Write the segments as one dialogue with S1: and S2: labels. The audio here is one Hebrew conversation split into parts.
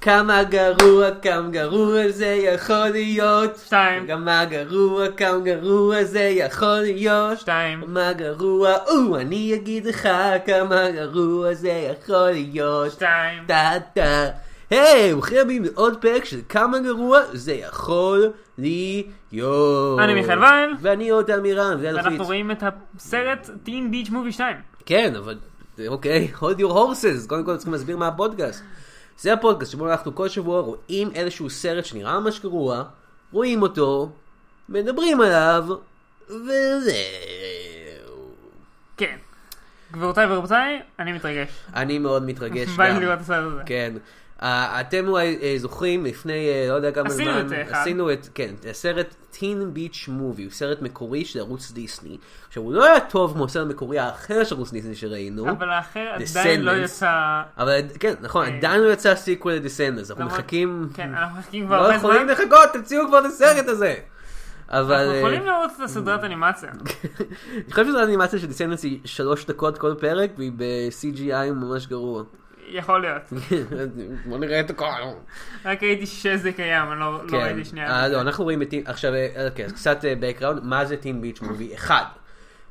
S1: כמה גרוע, כמה גרוע זה יכול להיות.
S2: שתיים,
S1: כמה גרוע, כמה גרוע זה יכול להיות.
S2: שתיים,
S1: כמה גרוע, או, אני אגיד לך כמה גרוע זה יכול להיות.
S2: שתיים.
S1: טה טה. היי, ברוכים הבאים לעוד פרק של כמה גרוע זה יכול להיות.
S2: אני מיכאל וייל.
S1: ואני עוד אמירן, זה הלחיץ.
S2: ואנחנו רואים את הסרט טין ביץ' מובי 2.
S1: כן, אבל אוקיי, hold your horses, קודם כל צריכים להסביר מה הפודקאסט. זה הפודקאסט שבו אנחנו כל שבוע רואים איזשהו סרט שנראה ממש גרוע, רואים אותו, מדברים עליו, וזהו.
S2: כן. גבירותיי ורבותיי, אני מתרגש.
S1: אני מאוד מתרגש
S2: בא
S1: גם.
S2: לי לראות את הסרט הזה.
S1: כן. אה, אתם אולי אה, זוכרים לפני אה, לא יודע כמה
S2: עשינו
S1: זמן,
S2: את זה אחד.
S1: עשינו את, כן, את הסרט טין ביץ' מובי, הוא סרט מקורי של ערוץ דיסני. עכשיו הוא לא היה טוב כמו הסרט המקורי האחר של ערוץ דיסני שראינו,
S2: אבל האחר עדיין לא
S1: Descendants.
S2: יצא...
S1: אבל כן, נכון,
S2: אה,
S1: עדיין לא יצא סיקוול לדיסנדס, אנחנו
S2: למרות-
S1: מחכים,
S2: כן, אנחנו מחכים כבר
S1: לא
S2: הרבה זמן.
S1: יכולים לחכות, תמציאו כבר את הסרט הזה. אבל...
S2: אנחנו
S1: אה,
S2: יכולים לא- לראות את הסדרת אנימציה.
S1: אני חושב שזו אנימציה של דיסנדס היא שלוש דקות כל פרק, והיא ב-CGI ממש גרוע.
S2: יכול להיות.
S1: בוא נראה את הכל.
S2: רק ראיתי שזה קיים, אני לא לא
S1: כן,
S2: ראיתי שנייה.
S1: אה, לא, אנחנו רואים את טין, עכשיו, אה, אוקיי, אז קצת בקראונד, מה זה טין ביץ' מובי 1?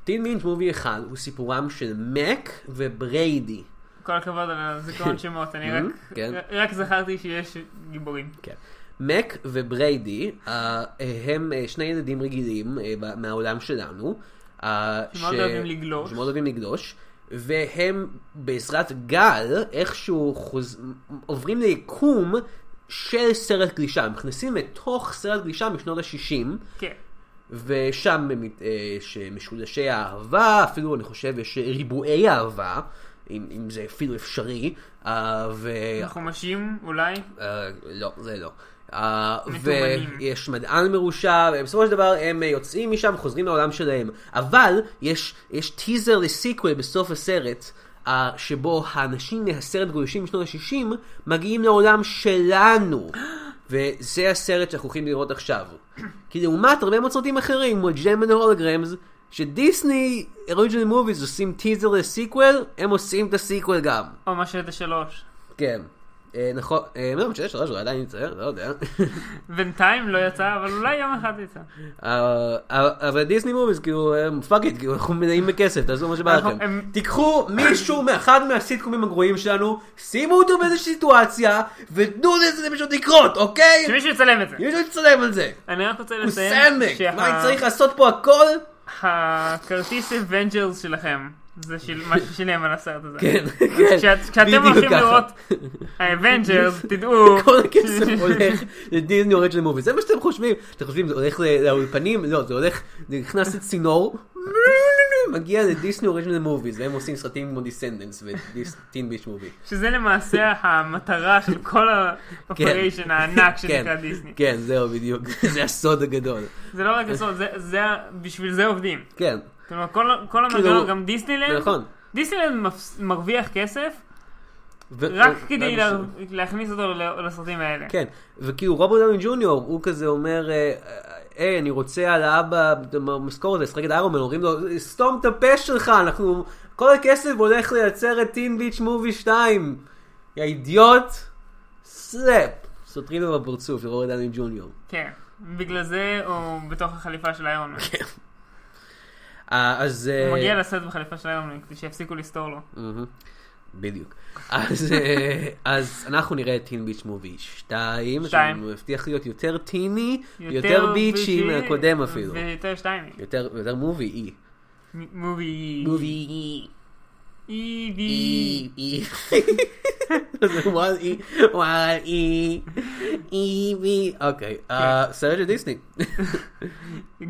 S1: טין ביץ' מובי 1 הוא סיפורם של מק ובריידי.
S2: כל הכבוד על הזיכרון שמות, אני רק-
S1: Mhm, כן.
S2: רק זכרתי שיש גיבורים.
S1: כן. מק ובריידי אה, הם אה, שני ילדים רגילים אה, ב- מהעולם שלנו. אה,
S2: שמאוד
S1: ש-
S2: אוהבים לגלוש.
S1: שמאוד אוהבים לגלוש. והם בעזרת גל איכשהו חוז... עוברים ליקום של סרט גלישה. הם נכנסים לתוך סרט גלישה משנות ה-60.
S2: כן.
S1: ושם הם, אה, שמשולשי האהבה, אפילו אני חושב יש ריבועי אהבה, אם, אם זה אפילו אפשרי, אה, ו...
S2: חומשים אולי?
S1: אה, לא, זה לא. אה,
S2: מתומנים.
S1: ויש מדען מרושע, ובסופו של דבר הם אה, יוצאים משם, חוזרים לעולם שלהם. אבל יש, יש טיזר לסיקוול בסוף הסרט, אה, שבו האנשים מהסרט גולשים משנות ה-60 מגיעים לעולם שלנו. וזה הסרט שאנחנו הולכים לראות עכשיו. כי לעומת הרבה מאוד סרטים אחרים, כמו ג'מן הולוגרמס, שדיסני, אוריג'ינל מוביז עושים טיזר לסיקוול, הם עושים את הסיקוול גם.
S2: או מה שהיית שלוש.
S1: כן. אה, נכון, אה, לא, משנה שלוש, אולי עדיין יצא, לא יודע.
S2: בינתיים לא יצא, אבל אולי יום אחד יצא.
S1: אה, אה, אבל דיסני מוביז, כאילו, פאק איט, כאילו, אנחנו מלאים בכסף, תעשו מה שבא
S2: אנחנו-
S1: לכם.
S2: הם-
S1: תיקחו מישהו מאחד מהסיטקומים הגרועים שלנו, שימו אותו באיזושהי סיטואציה, ותנו לזה פשוט לקרות, אוקיי?
S2: שמישהו יצלם את זה.
S1: מישהו יצלם על זה.
S2: אני רק רוצה
S1: הוא
S2: לציין
S1: סמק, מה צריך
S2: שהכרטיס
S1: לעשות פה הכל?
S2: אבנג'רס שלכם זה של- מה ששילם על הסרט הזה.
S1: כן, כן,
S2: כשאת- כשאתם
S1: בדיוק
S2: הולכים
S1: ככה.
S2: לראות האבנג'רס, תדעו
S1: כל הכסף
S2: ש-
S1: הולך לדיסני אורג'ל מוביז, זה מה שאתם חושבים. אתם חושבים זה הולך לא- לאולפנים? לא, זה הולך, זה נכנס לצינור, מגיע לדיסני אורג'ל מוביז, והם עושים סרטים כמו דיסנדנס ודיסטין ביש מובי.
S2: שזה למעשה המטרה של כל האופריישן הענק שנקרא
S1: כן,
S2: דיסני.
S1: כן, זהו בדיוק, זה הסוד הגדול.
S2: זה לא רק הסוד, זה- זה ה- בשביל זה עובדים.
S1: כן,
S2: כלומר, כל- כל המנגנון, גם דיסנילנד,
S1: כאילו- נכון.
S2: דיסנילנד מפס- מרוויח כסף
S1: ו-
S2: רק
S1: ו-
S2: כדי
S1: רק
S2: לה-
S1: בשביל-
S2: להכניס אותו ל- לסרטים האלה.
S1: כן, וכאילו רוברט דאוני ג'וניור, הוא כזה אומר, אה, היי, אני רוצה על האבא במשכורת לשחק את איירומן, אומרים לו, סתום את הפה שלך, אנחנו, כל הכסף הולך לייצר את טין ביץ' מובי 2, יא אידיוט, סלאפ, סותרים לו בפרצוף, לרוברט דאוני ג'וניור.
S2: כן, בגלל זה הוא בתוך החליפה של איירון מן.
S1: אה, אז... אה,
S2: הוא מגיע לסרט בחליפה של איירון מן כדי שיפסיקו לסתור לו.
S1: מהמם. בדיוק. אז, אה, אז אנחנו נראה את טין ביץ' מובי 2,
S2: שתיים.
S1: שהוא מבטיח להיות יותר טיני, יותר ביצ'י מהקודם אפילו.
S2: ויותר שתיים.
S1: יותר יותר מובי אי.
S2: מובי. E,
S1: מובי E. אי.
S2: אי
S1: אי,
S2: בי.
S1: אי. זה וואל אי, וואל אי, אי בי. אוקיי, אה, סרט של דיסני.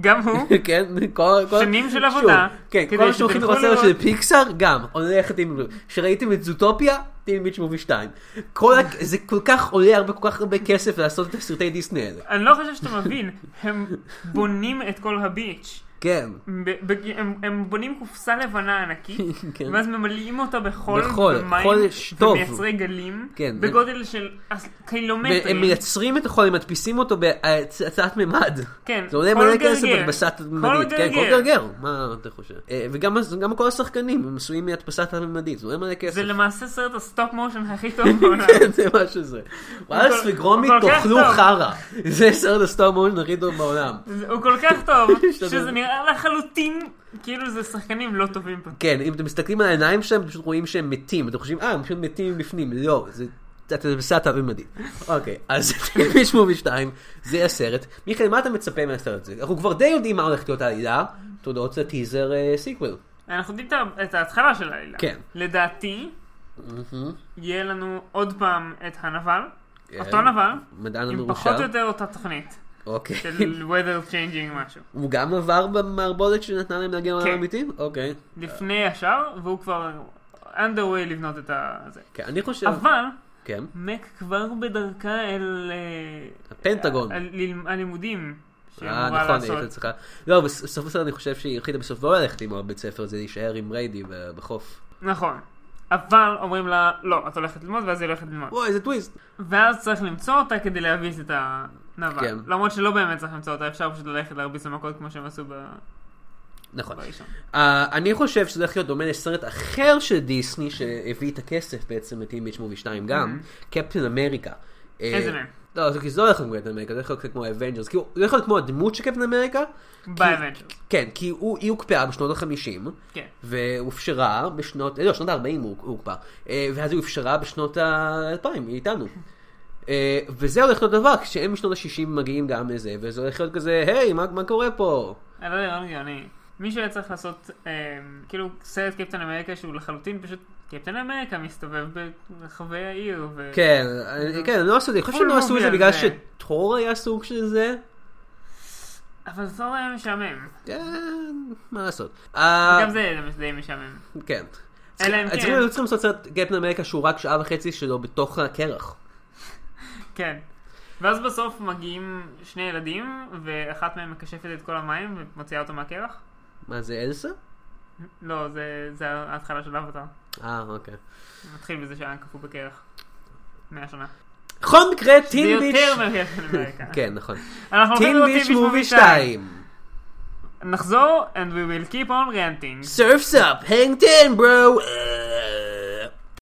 S2: גם הוא.
S1: כן, כל... כל-
S2: שנים של
S1: שוב,
S2: עבודה,
S1: כן,
S2: כדי
S1: כל מה שהולכים
S2: שתלכו
S1: לראות סרט של
S2: לראות.
S1: פיקסאר, גם. הולכת עם... שראיתם את זוטופיה? טין ביץ' מובי 2. כל ה- זה כל כך עולה הרבה כל כך הרבה כסף לעשות את הסרטי דיסני האלה.
S2: אני לא חושב שאתה מבין, הם בונים את כל הביץ'.
S1: כן.
S2: ב- בג- הם, הם בונים קופסה לבנה ענקית,
S1: כן.
S2: ואז ממלאים אותה בחול,
S1: בחול,
S2: ומים,
S1: חול שטוב.
S2: ומייצרי גלים,
S1: כן,
S2: בגודל של עש- קילומטרים.
S1: והם מייצרים את החול, הם מדפיסים אותו בהצעת ממד.
S2: כן,
S1: זה עולה
S2: כל
S1: מלא כסף
S2: גרגר.
S1: בהדפסת
S2: כל
S1: ממדית. כן, כל
S2: גרגר.
S1: גרגר. מה אתה חושב? אה, וגם גם כל השחקנים הם עשויים מהדפסת הממדית, זה עולה מלא כסף.
S2: זה למעשה סרט הסטופ מושן הכי טוב בעולם.
S1: כן, זה מה שזה. וואלה
S2: כל-
S1: ספיגרומי,
S2: הוא כל כך
S1: תאכלו
S2: טוב.
S1: חרא. זה סרט הסטאר מושן הכי טוב בעולם.
S2: זה- הוא כל כך טוב,
S1: השתדל.
S2: שזה נראה לחלוטין כאילו זה שחקנים לא טובים פה.
S1: כן, אם אתם מסתכלים על העיניים שלהם, אתם פשוט רואים שהם מתים. אתם חושבים, אה, הם פשוט מתים מבפנים. לא, זה... אתם בסרט הממדית. אוקיי, אז פיש מובי 2, זה הסרט. מיכאל, מה אתה מצפה מהסרט הזה? אנחנו כבר די יודעים מה הולכת להיות העלילה, תודות לטיזר אה, סיקוול.
S2: אנחנו יודעים את ה- את ההתחלה של העלילה.
S1: כן.
S2: לדעתי, יהיה לנו עוד פעם את הנבל,
S1: כן.
S2: אותו נבל,
S1: מדען
S2: עם פחות או
S1: המרושע.
S2: יותר כן. אותה תוכנית,
S1: אוקיי.
S2: של weather changing משהו.
S1: הוא גם עבר במערבולת שנתנה להם להגן על
S2: כן.
S1: האמיתים? אוקיי.
S2: לפני השאר, והוא כבר underway לבנות את ה... זה.
S1: כן, אני חושב...
S2: אבל,
S1: כן.
S2: מק כבר בדרכה אל... אה,
S1: הפנטגון.
S2: ה- ה- הלימודים שהיא
S1: אה,
S2: אמורה
S1: נכון, היא הייתה
S2: לעשות.
S1: צריכה... לא, בסוף הסרט אני חושב שהיא החליטה בסוף לא ללכת עם הבית ספר, זה להישאר עם ריידי ב- בחוף.
S2: נכון. אבל אומרים לה, לא, את הולכת ללמוד, ואז היא הולכת ללמוד.
S1: וואי, איזה טוויסט.
S2: ואז צריך למצוא אותה כדי להביס את הנבל.
S1: כן.
S2: למרות שלא באמת צריך למצוא אותה, אפשר פשוט ללכת להרביץ למכות כמו שהם עשו ב-
S1: נכון.
S2: בראשון.
S1: Uh, אני חושב שזה הולך להיות דומה לסרט אחר של דיסני שהביא את הכסף בעצם ל-Team Beach Movie 2 גם,
S2: Mm-hmm.
S1: קפטן אמריקה.
S2: איזה מהם?
S1: לא, זה כי זה לא הולך להיות כמו קפטן אמריקה, זה הולך להיות קצת כמו אבנג'רס. כאילו, זה הולך להיות כמו הדמות של קפטן אמריקה,
S2: באבנג'רס.
S1: כן, כי הוא, היא הוקפאה בשנות ה-50,
S2: כן.
S1: והופשרה בשנות, לא, שנות ה-40 הוא הוא הוקפא, אה, ואז היא הופשרה בשנות ה-2000, היא איתנו. אה, וזה הולך להיות דבר, כשהם משנות ה-60 מגיעים גם לזה, וזה הולך להיות כזה, היי, מה, מה קורה פה?
S2: אני לא יודע, לא הגיוני. מישהו היה צריך לעשות, אה, כאילו, סרט קפטן אמריקה שהוא לחלוטין פשוט קפטן אמריקה מסתובב ברחבי העיר. ו...
S1: כן, אני- כן, הם לא עשו את זה, אני חושב שהם לא עשו את זה
S2: פול
S1: בגלל
S2: מובי על זה.
S1: שטור היה סוג של זה.
S2: אבל זה היה משעמם.
S1: כן, מה לעשות. אה,
S2: גם זה די משעמם.
S1: כן.
S2: אלא אם
S1: אז
S2: כן.
S1: היו צריכים לעשות סרט קפטן אמריקה שהוא רק שעה וחצי שלו בתוך הקרח.
S2: כן. ואז בסוף מגיעים שני ילדים, ואחת מהם מקשפת את כל המים ומוציאה אותו מהקרח.
S1: מה זה, אלסה?
S2: לא, זה, זה ההתחלה של אבטר.
S1: אה, אוקיי.
S2: נתחיל בזה שהיה קפוא בקרח. מאה שנה.
S1: בכל מקרה,
S2: זה
S1: טין ביץ'...
S2: יותר מקפטן אמריקה.
S1: כן, נכון.
S2: אנחנו
S1: טין
S2: הולכים לראות
S1: ביץ'
S2: טיל
S1: מובי 2.
S2: נחזור, and we will keep on ranting.
S1: Surf's up, hang ten, bro!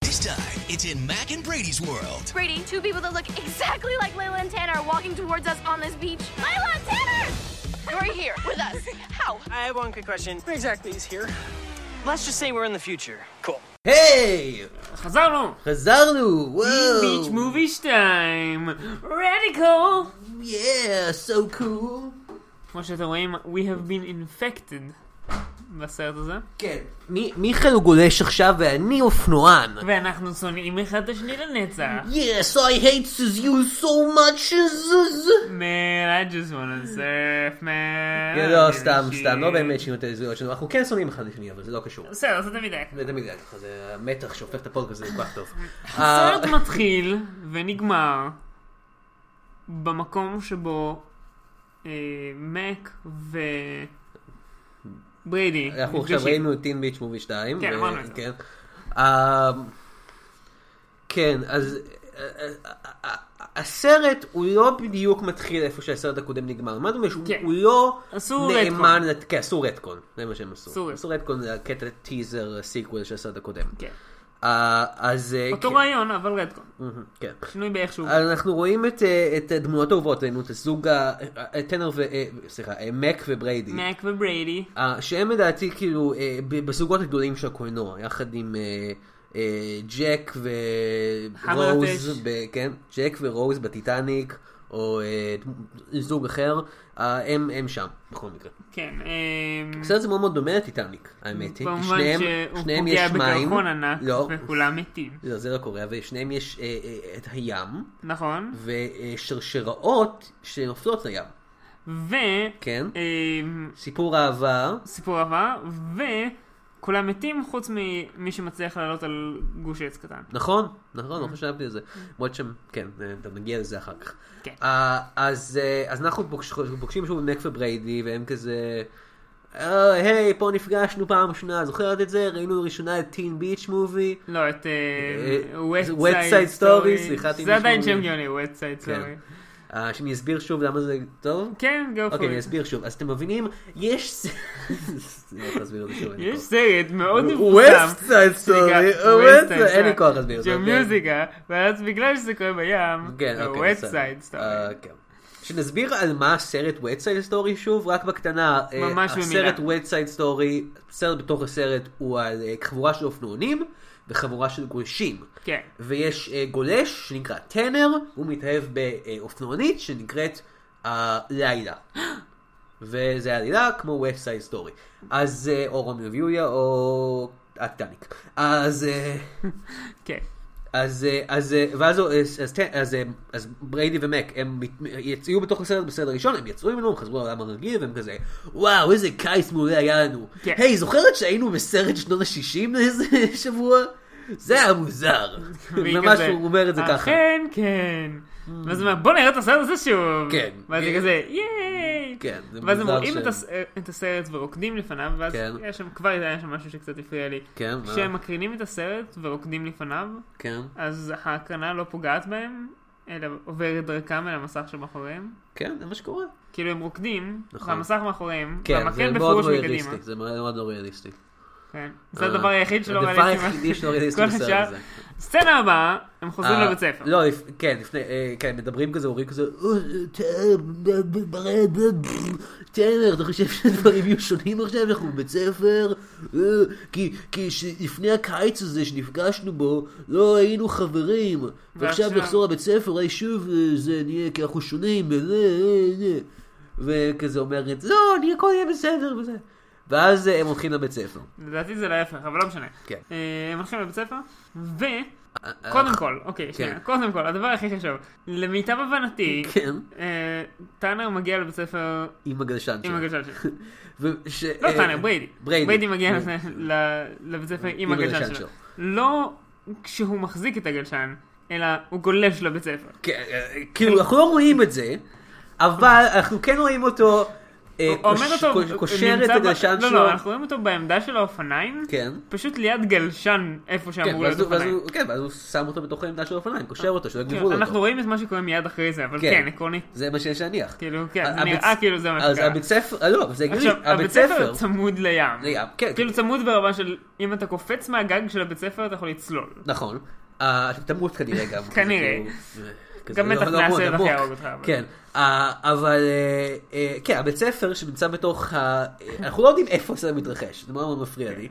S3: This time, it's in Mac and Brady's world.
S4: Brady, two people that look exactly like Layla and Tanner are walking towards us on this beach. Layla and Tanner! You're here with us. How?
S5: I have one quick question. Where exactly is here? Let's just say we're in the future. Cool.
S1: היי!
S2: חזרנו!
S1: Oh. חזרנו! וואו!
S2: ביץ' מובי 2! רדיקל!
S1: Yeah, so cool!
S2: כמו שאתם רואים, we have been infected בסרט הזה.
S1: כן. מיכאל הוא גולש עכשיו ואני אופנוען.
S2: ואנחנו שונאים אחד את השני לנצח.
S1: Yes, I hate you so much.
S2: Man, I just wanna surf, man.
S1: לא, סתם, סתם, לא באמת שינו את הזהויות שלנו. אנחנו כן שונאים אחד לשני, אבל זה לא קשור.
S2: בסדר, זה תמיד היה. ככה.
S1: זה תמיד היה ככה, זה המתח שהופך את הפודקאסט לכל כך טוב.
S2: הסרט
S1: אה.
S2: מתחיל ונגמר במקום שבו אה, מק ובריידי
S1: אנחנו עכשיו ראינו את טין ביץ' מובי 2.
S2: כן, אמרנו את זה.
S1: כן. אה, כן, אז אה, אה, אה, הסרט הוא לא בדיוק מתחיל איפה שהסרט הקודם נגמר. מה זאת אומרת? שהוא-
S2: כן.
S1: הוא לא
S2: עשו
S1: נאמן... לת- כן, עשו רטקון. זה מה שהם
S2: עשו
S1: עשו. עשו רטקון זה הקטע טיזר סיקוול של הסרט הקודם.
S2: כן.
S1: אה, אז... אה,
S2: אותו
S1: כן.
S2: רעיון, אבל רדקון.
S1: מהמם, כן.
S2: שינוי באיכשהו.
S1: אז אנחנו רואים את, אה, את הדמויות האהובות, ראינו את הזוג, ה- אה, טנר ו... אה, סליחה, אה, מק ובריידי.
S2: מק ובריידי.
S1: אה, שהם לדעתי כאילו אה, ב- בזוגות הגדולים של הקולנוע, יחד עם אה, אה, ג'ק
S2: חמר
S1: ורוז,
S2: הטש.
S1: ב- כן, ג'ק ורוז בטיטניק, או אה, דמ- זוג אחר, אה, הם הם שם, בכל מקרה.
S2: כן. אמ,
S1: הסרט הזה מאוד מאוד דומה לטיטניק, האמת היא, כי
S2: במובן
S1: שניהם,
S2: שהוא
S1: שניהם
S2: פוגע
S1: יש מים,
S2: בקרחון ענק
S1: לא,
S2: וכולם מתים.
S1: לא, זה לא קורה, ושניהם יש אה, אה, את הים,
S2: נכון.
S1: ושרשראות שנופלות לים.
S2: ו...
S1: כן.
S2: אמ,
S1: סיפור אהבה,
S2: סיפור אהבה, וכולם מתים חוץ ממי שמצליח לעלות על גוש עץ קטן.
S1: נכון, נכון, לא חשבתי על זה. למרות שהם, כן, אה, טוב, נגיע לזה אחר כך.
S2: כן.
S1: אה, אז אה, אז אנחנו פוגש- פוגשים שוב את מק ובריידי, והם כזה... אה, היי, פה נפגשנו פעם ראשונה, זוכרת את זה? ראינו לראשונה את טין ביץ' מובי.
S2: לא, את
S1: אה,
S2: וט
S1: West
S2: סייד
S1: Side Story,
S2: סטורי.
S1: סליחה,
S2: זה
S1: תימי
S2: עדיין שם
S1: שמולי.
S2: גאוני, וט סייד סטורי.
S1: אה, שאני אסביר שוב למה זה טוב?
S2: כן, go for
S1: אוקיי, אני
S2: it.
S1: אסביר שוב. אז אתם מבינים, יש... ס- אני לא יכול להסביר את זה שוב, אין לי
S2: יש
S1: כוח.
S2: סרט מאוד
S1: West Side Story, West Side- אין לי כוח להסביר את זה.
S2: זה
S1: אוקיי?
S2: מיוזיקה, ואז בגלל שזה קורה בים,
S1: כן, אוקיי.
S2: וט
S1: בסדר.
S2: סייד
S1: אה,
S2: סטורי.
S1: כן. שנסביר על מה הסרט West Side Story שוב, רק בקטנה. אה,
S2: ממש במילה.
S1: הסרט West Side Story, סרט בתוך הסרט, הוא על אה, חבורה של אופנוענים וחבורה של גולשים.
S2: כן.
S1: ויש אה, גולש שנקרא טנר, הוא מתאהב באופנוענית שנקראת אה, לילה. וזה עלילה כמו West Side Story. אז אה, או רומי ויוליה או הטיטניק. אז... אה,
S2: כן.
S1: אז, אה, אז, אה, ואז, הוא- אז, אז, ת- אז, אה, אז בריידי ומק, הם מת- יצאו בתוך הסרט בסרט הראשון, הם יצאו ממנו, הם חזרו לעולם הרגיל, והם כזה, וואו, איזה קיץ מעולה היה לנו.
S2: כן.
S1: היי, זוכרת שהיינו בסרט שנות ה-60 לאיזה שבוע? זה היה מוזר.
S2: והיא
S1: ממש
S2: כזה,
S1: הוא אומר את זה ככה. Hmm.
S2: אכן, כן. ואז הוא אומר, בוא נראה את הסרט הזה שוב.
S1: כן.
S2: ואז זה כזה, ייי.
S1: כן, זה
S2: ואז הם
S1: מוזר
S2: רואים
S1: שהם-
S2: את הס- את הסרט ורוקדים לפניו, ואז
S1: כן.
S2: היה שם, כבר היה שם משהו שקצת הפריע לי.
S1: כן, מה?
S2: כשהם מקרינים את הסרט ורוקדים לפניו,
S1: כן,
S2: אז ההקרנה לא פוגעת בהם, אלא עוברת דרכם אל המסך שמאחוריהם.
S1: כן, זה מה שקורה.
S2: כאילו הם רוקדים,
S1: נכון.
S2: והמסך מאחוריהם,
S1: כן, זה
S2: והמקל
S1: מאוד
S2: בפירוש
S1: לא
S2: מקדימה.
S1: ריאליסטי, זה מאוד לא ריאליסטי.
S2: כן. זה
S1: אה,
S2: הדבר היחיד שלא
S1: הדבר
S2: ריאליסטי.
S1: היחידי שלא ריאליסטי
S2: כל
S1: בסרט
S2: השאר-
S1: הזה.
S2: סצנה הבאה, הם חוזרים
S1: אה,
S2: לבית ספר.
S1: לא, לפ- כן, לפני, אה, כן, מדברים כזה, אומרים כזה, "אה, אה, ב- ב- ב- ב- ב- טנר, אתה חושב שהדברים יהיו שונים עכשיו, אנחנו בבית ספר? אה, כי- כי לפני הקיץ הזה שנפגשנו בו, לא היינו חברים, ועכשיו
S2: ועכשיו-
S1: נחזור לבית ספר, אולי שוב אה, זה נהיה, כי אנחנו שונים, אה, אה, אה." וכזה אומרת, לא, אני הכל יהיה בסדר, וזה. ואז אה, הם הולכים לבית ספר.
S2: לדעתי זה להפך, אבל לא משנה.
S1: כן. אה,
S2: אה, הם הולכים לבית ספר, וקודם כל, אוקיי, שנייה, קודם כל, הדבר הכי חשוב, למיטב הבנתי,
S1: כן,
S2: אה, טאנר מגיע לבית ספר
S1: עם הגלשן
S2: עם
S1: שלו.
S2: הגלשן שלו.
S1: וש-
S2: לא
S1: אה,
S2: טאנר, בריידי.
S1: בריידי.
S2: בריידי מגיע
S1: אה,
S2: ל- ל- לבית ספר עם
S1: הגלשן
S2: הגלשן
S1: שלו.
S2: שלו. לא כשהוא מחזיק את הגלשן, אלא הוא גולש לבית ספר.
S1: כן, אה, כאילו, אנחנו לא רואים את זה, אבל אנחנו כן רואים אותו אה,
S2: הוא אומר
S1: קוש-
S2: אותו,
S1: קוש- קושר את
S2: נמצא ב-
S1: הגלשן
S2: לא,
S1: שלו.
S2: לא, אנחנו רואים אותו בעמדה של האופניים,
S1: כן.
S2: פשוט ליד גלשן איפה
S1: כן,
S2: שאמור להיות
S1: ואז הוא- ואז
S2: אופניים.
S1: הוא- כן, ואז הוא שם אותו בתוך העמדה של האופניים, קושר אותו, שלא
S2: כן,
S1: יגנבו
S2: אנחנו
S1: אותו.
S2: רואים את מה שקורה מיד אחרי זה, אבל
S1: כן.
S2: כן, עקרונית.
S1: זה מה שיש להניח.
S2: כאילו, כן, זה
S1: ה- הבית-
S2: נראה כאילו זה מה
S1: אז
S2: שקרה.
S1: הבית ספר, אה, לא, אבל זה הגיוני,
S2: עכשיו,
S1: הבית ספר,
S2: צמוד לים.
S1: לים, כן.
S2: כאילו צמוד ברמה של אם אתה קופץ מהגג של הבית ספר אתה יכול לצלול.
S1: נכון. אה, אתה תמות כנראה גם. כזה
S2: כנראה.
S1: כאילו, אה, כזה
S2: גם בטח
S1: לא- לא מאוד
S2: מהסבב
S1: עמוק.
S2: יהרוג אותך, אבל-
S1: כן, אה, אבל אה, אה, כן, הבית ספר שנמצא בתוך ה... אה, אנחנו לא יודעים איפה זה מתרחש, זה מאוד מאוד מפריע
S2: כן.
S1: לי.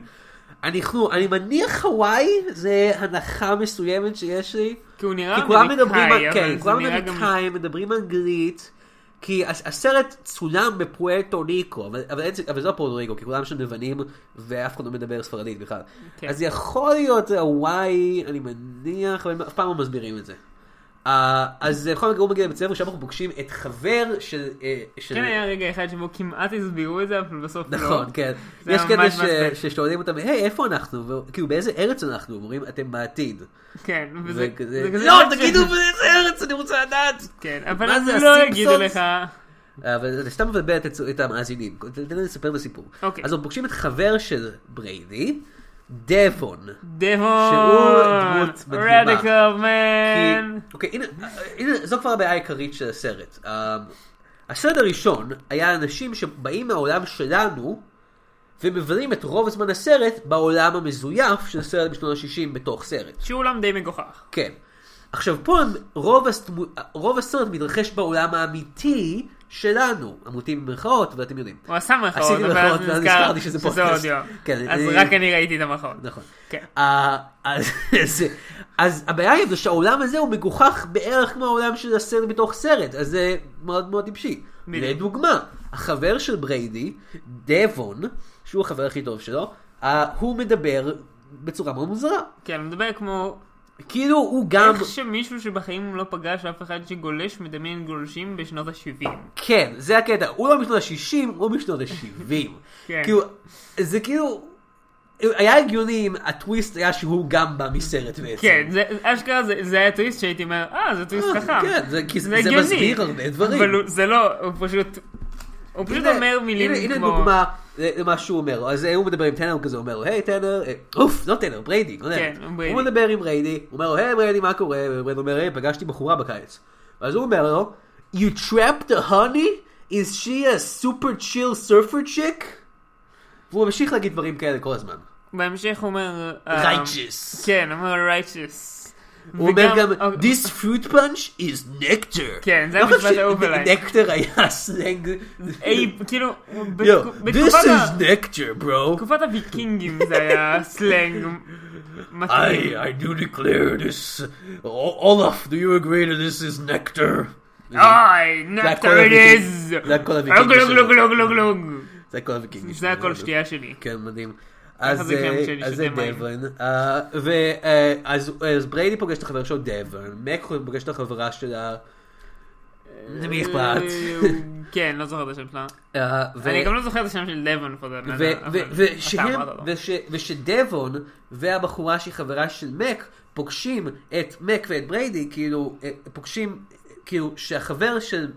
S1: אנחנו, אני מניח הוואי, זה הנחה מסוימת שיש לי.
S2: כי הוא נראה
S1: כי כולם מדברים,
S2: אמריקאי,
S1: על-
S2: אה, אבל
S1: כן,
S2: זה
S1: כולם
S2: נראה גם-
S1: אמריקאים, מדברים אנגלית, כי הס- הסרט צולם בפואטו ריקו, אבל, אבל, אין- אבל זה לא פואטו ריקו, כי כולם שם לבנים, ואף אחד לא מדבר ספרדית בכלל.
S2: כן.
S1: אז יכול להיות הוואי, אני מניח, אבל הם אף פעם לא מסבירים את זה. Uh, אז אה, בכל מקרה הוא מגיע לבית ספר, שם אנחנו פוגשים את חבר של... אה, של...
S2: כן היה רגע אחד שבו כמעט הסבירו את זה אבל בסוף לא.
S1: נכון, כן.
S2: זה
S1: יש
S2: ממש
S1: כאלה
S2: מעצבן.
S1: ש- ששואלים אותם, היי, איפה אנחנו? וכאילו, באיזה ארץ אנחנו? הם אומרים, אתם בעתיד.
S2: כן. וזה
S1: וכזה,
S2: זה כזה-
S1: לא, תגידו באיזה ארץ, אני רוצה לדעת.
S2: כן, אבל
S1: מה
S2: אז
S1: זה,
S2: לא
S1: הסימפסונס?
S2: יגידו לך.
S1: אה, אבל אתה סתם מבלבל את הצ- את המאזינים, תן לי לספר את הסיפור.
S2: אוקיי.
S1: אז הם פוגשים את חבר של בריידי, דבון.
S2: דבון.
S1: שהוא דמות מדהימה.
S2: רדיקל
S1: כי-
S2: מן.
S1: אוקיי, הנה, הנה, זו כבר הבעיה העיקרית של הסרט. אמ, הסרט הראשון היה אנשים שבאים מהעולם שלנו ומבלים את רוב זמן הסרט בעולם המזויף של סרט בשנות ה-60 בתוך סרט.
S2: שהוא עולם די מגוחך. כן.
S1: כן. עכשיו פה הם- רוב, הסתמו, רוב הסרט מתרחש בעולם האמיתי שלנו, עמותים במרכאות, ואתם יודעים.
S2: הוא עשה מחאות,
S1: עשיתי מחאות,
S2: אבל
S1: ואז
S2: אז נזכר
S1: נזכרתי שזה
S2: שזה
S1: פודקאסט.
S2: אודיו.
S1: כן,
S2: אז
S1: אני-
S2: רק אני ראיתי את המחאות.
S1: נכון.
S2: כן.
S1: אה, אז, אז, אז הבעיה היא זה שהעולם הזה הוא מגוחך בערך כמו העולם של הסרט בתוך סרט, אז זה מאוד מאוד טיפשי.
S2: בדיוק.
S1: לדוגמה, החבר של בריידי, דבון, שהוא החבר הכי טוב שלו, אה, הוא מדבר בצורה מאוד מוזרה.
S2: כן, מדבר כמו
S1: כאילו הוא גם...
S2: איך שמישהו שבחיים לא פגש אף אחד שגולש מדמיין גולשים בשנות ה-70.
S1: כן, זה הקטע. הוא לא משנות ה-60, הוא משנות ה-70.
S2: כן.
S1: כאילו, זה כאילו... היה הגיוני אם הטוויסט היה שהוא גם בא מסרט בעצם.
S2: כן, זה, אשכרה זה, זה היה טוויסט שהייתי אומר, אה, זה טוויסט
S1: אה,
S2: חכם.
S1: כן, זה- כי זה- זה
S2: הגיוני.
S1: מסביר הרבה דברים.
S2: אבל הוא, זה לא, הוא פשוט הוא פשוט
S1: הנה-
S2: אומר מילים
S1: הנה, הנה
S2: כמו-
S1: דוגמה למה שהוא אומר. אז אה, הוא מדבר עם טנר, הוא כזה אומר לו, היי טנר, אה, אוף, לא טנר, בריידי. לא יודע.
S2: כן, בריידי.
S1: הוא מדבר עם בריידי, הוא אומר לו, היי בריידי, מה קורה? ובריידי אומר, היי, פגשתי בחורה בקיץ. ואז הוא אומר לו, You trapped a honey? Is she a super chill surfer chick? והוא ממשיך להגיד דברים כאלה כל הזמן.
S2: בהמשך הוא אומר... אה,
S1: Righteous.
S2: כן, הוא אומר righteous.
S1: הוא אומר גם,
S2: אוקיי,
S1: This fruit punch is nectar.
S2: כן, זה
S1: לא
S2: המשפט
S1: חושב
S2: האהוב עליי.
S1: נקטר היה סלנג.
S2: אי, כאילו, בתקו-
S1: Yo, this
S2: בתקופת ה-
S1: is nectar, bro.
S2: בתקופת הוויקינגים זה היה סלנג
S1: I
S2: מתאים.
S1: I do declare this. O- Olaf, do you agree that this is nectar?
S2: היי,
S1: זה
S2: נקטר
S1: הכל הוויקינג.
S2: איז!
S1: זה הכל הוויקינג
S2: אוגלוג
S1: שלו.
S2: לוג לוג לוג לוג!
S1: זה הכל הוויקינגים.
S2: זה הכל שתייה שלי.
S1: כן, מדהים. אז
S2: זה גם
S1: אה,
S2: שלי,
S1: אז זה
S2: שזה מים.
S1: דבון. אה, ו- אה, אז- אז בריידי פוגש את החבר שלו דבון. מק פוגש את החברה שלה. למי אכפת?
S2: eh, כן, לא זוכר את השם שלה.
S1: אה, ו-
S2: אני גם לא זוכר את השם של לבן for that
S1: ו-
S2: matter,
S1: ו-
S2: לא, אבל אתה
S1: ושהם,
S2: אמרת לא, לו.
S1: וש- ושדבון והבחורה שהיא חברה של מק פוגשים את מק ואת בריידי, כאילו, אה, פוגשים, כאילו, שהחבר של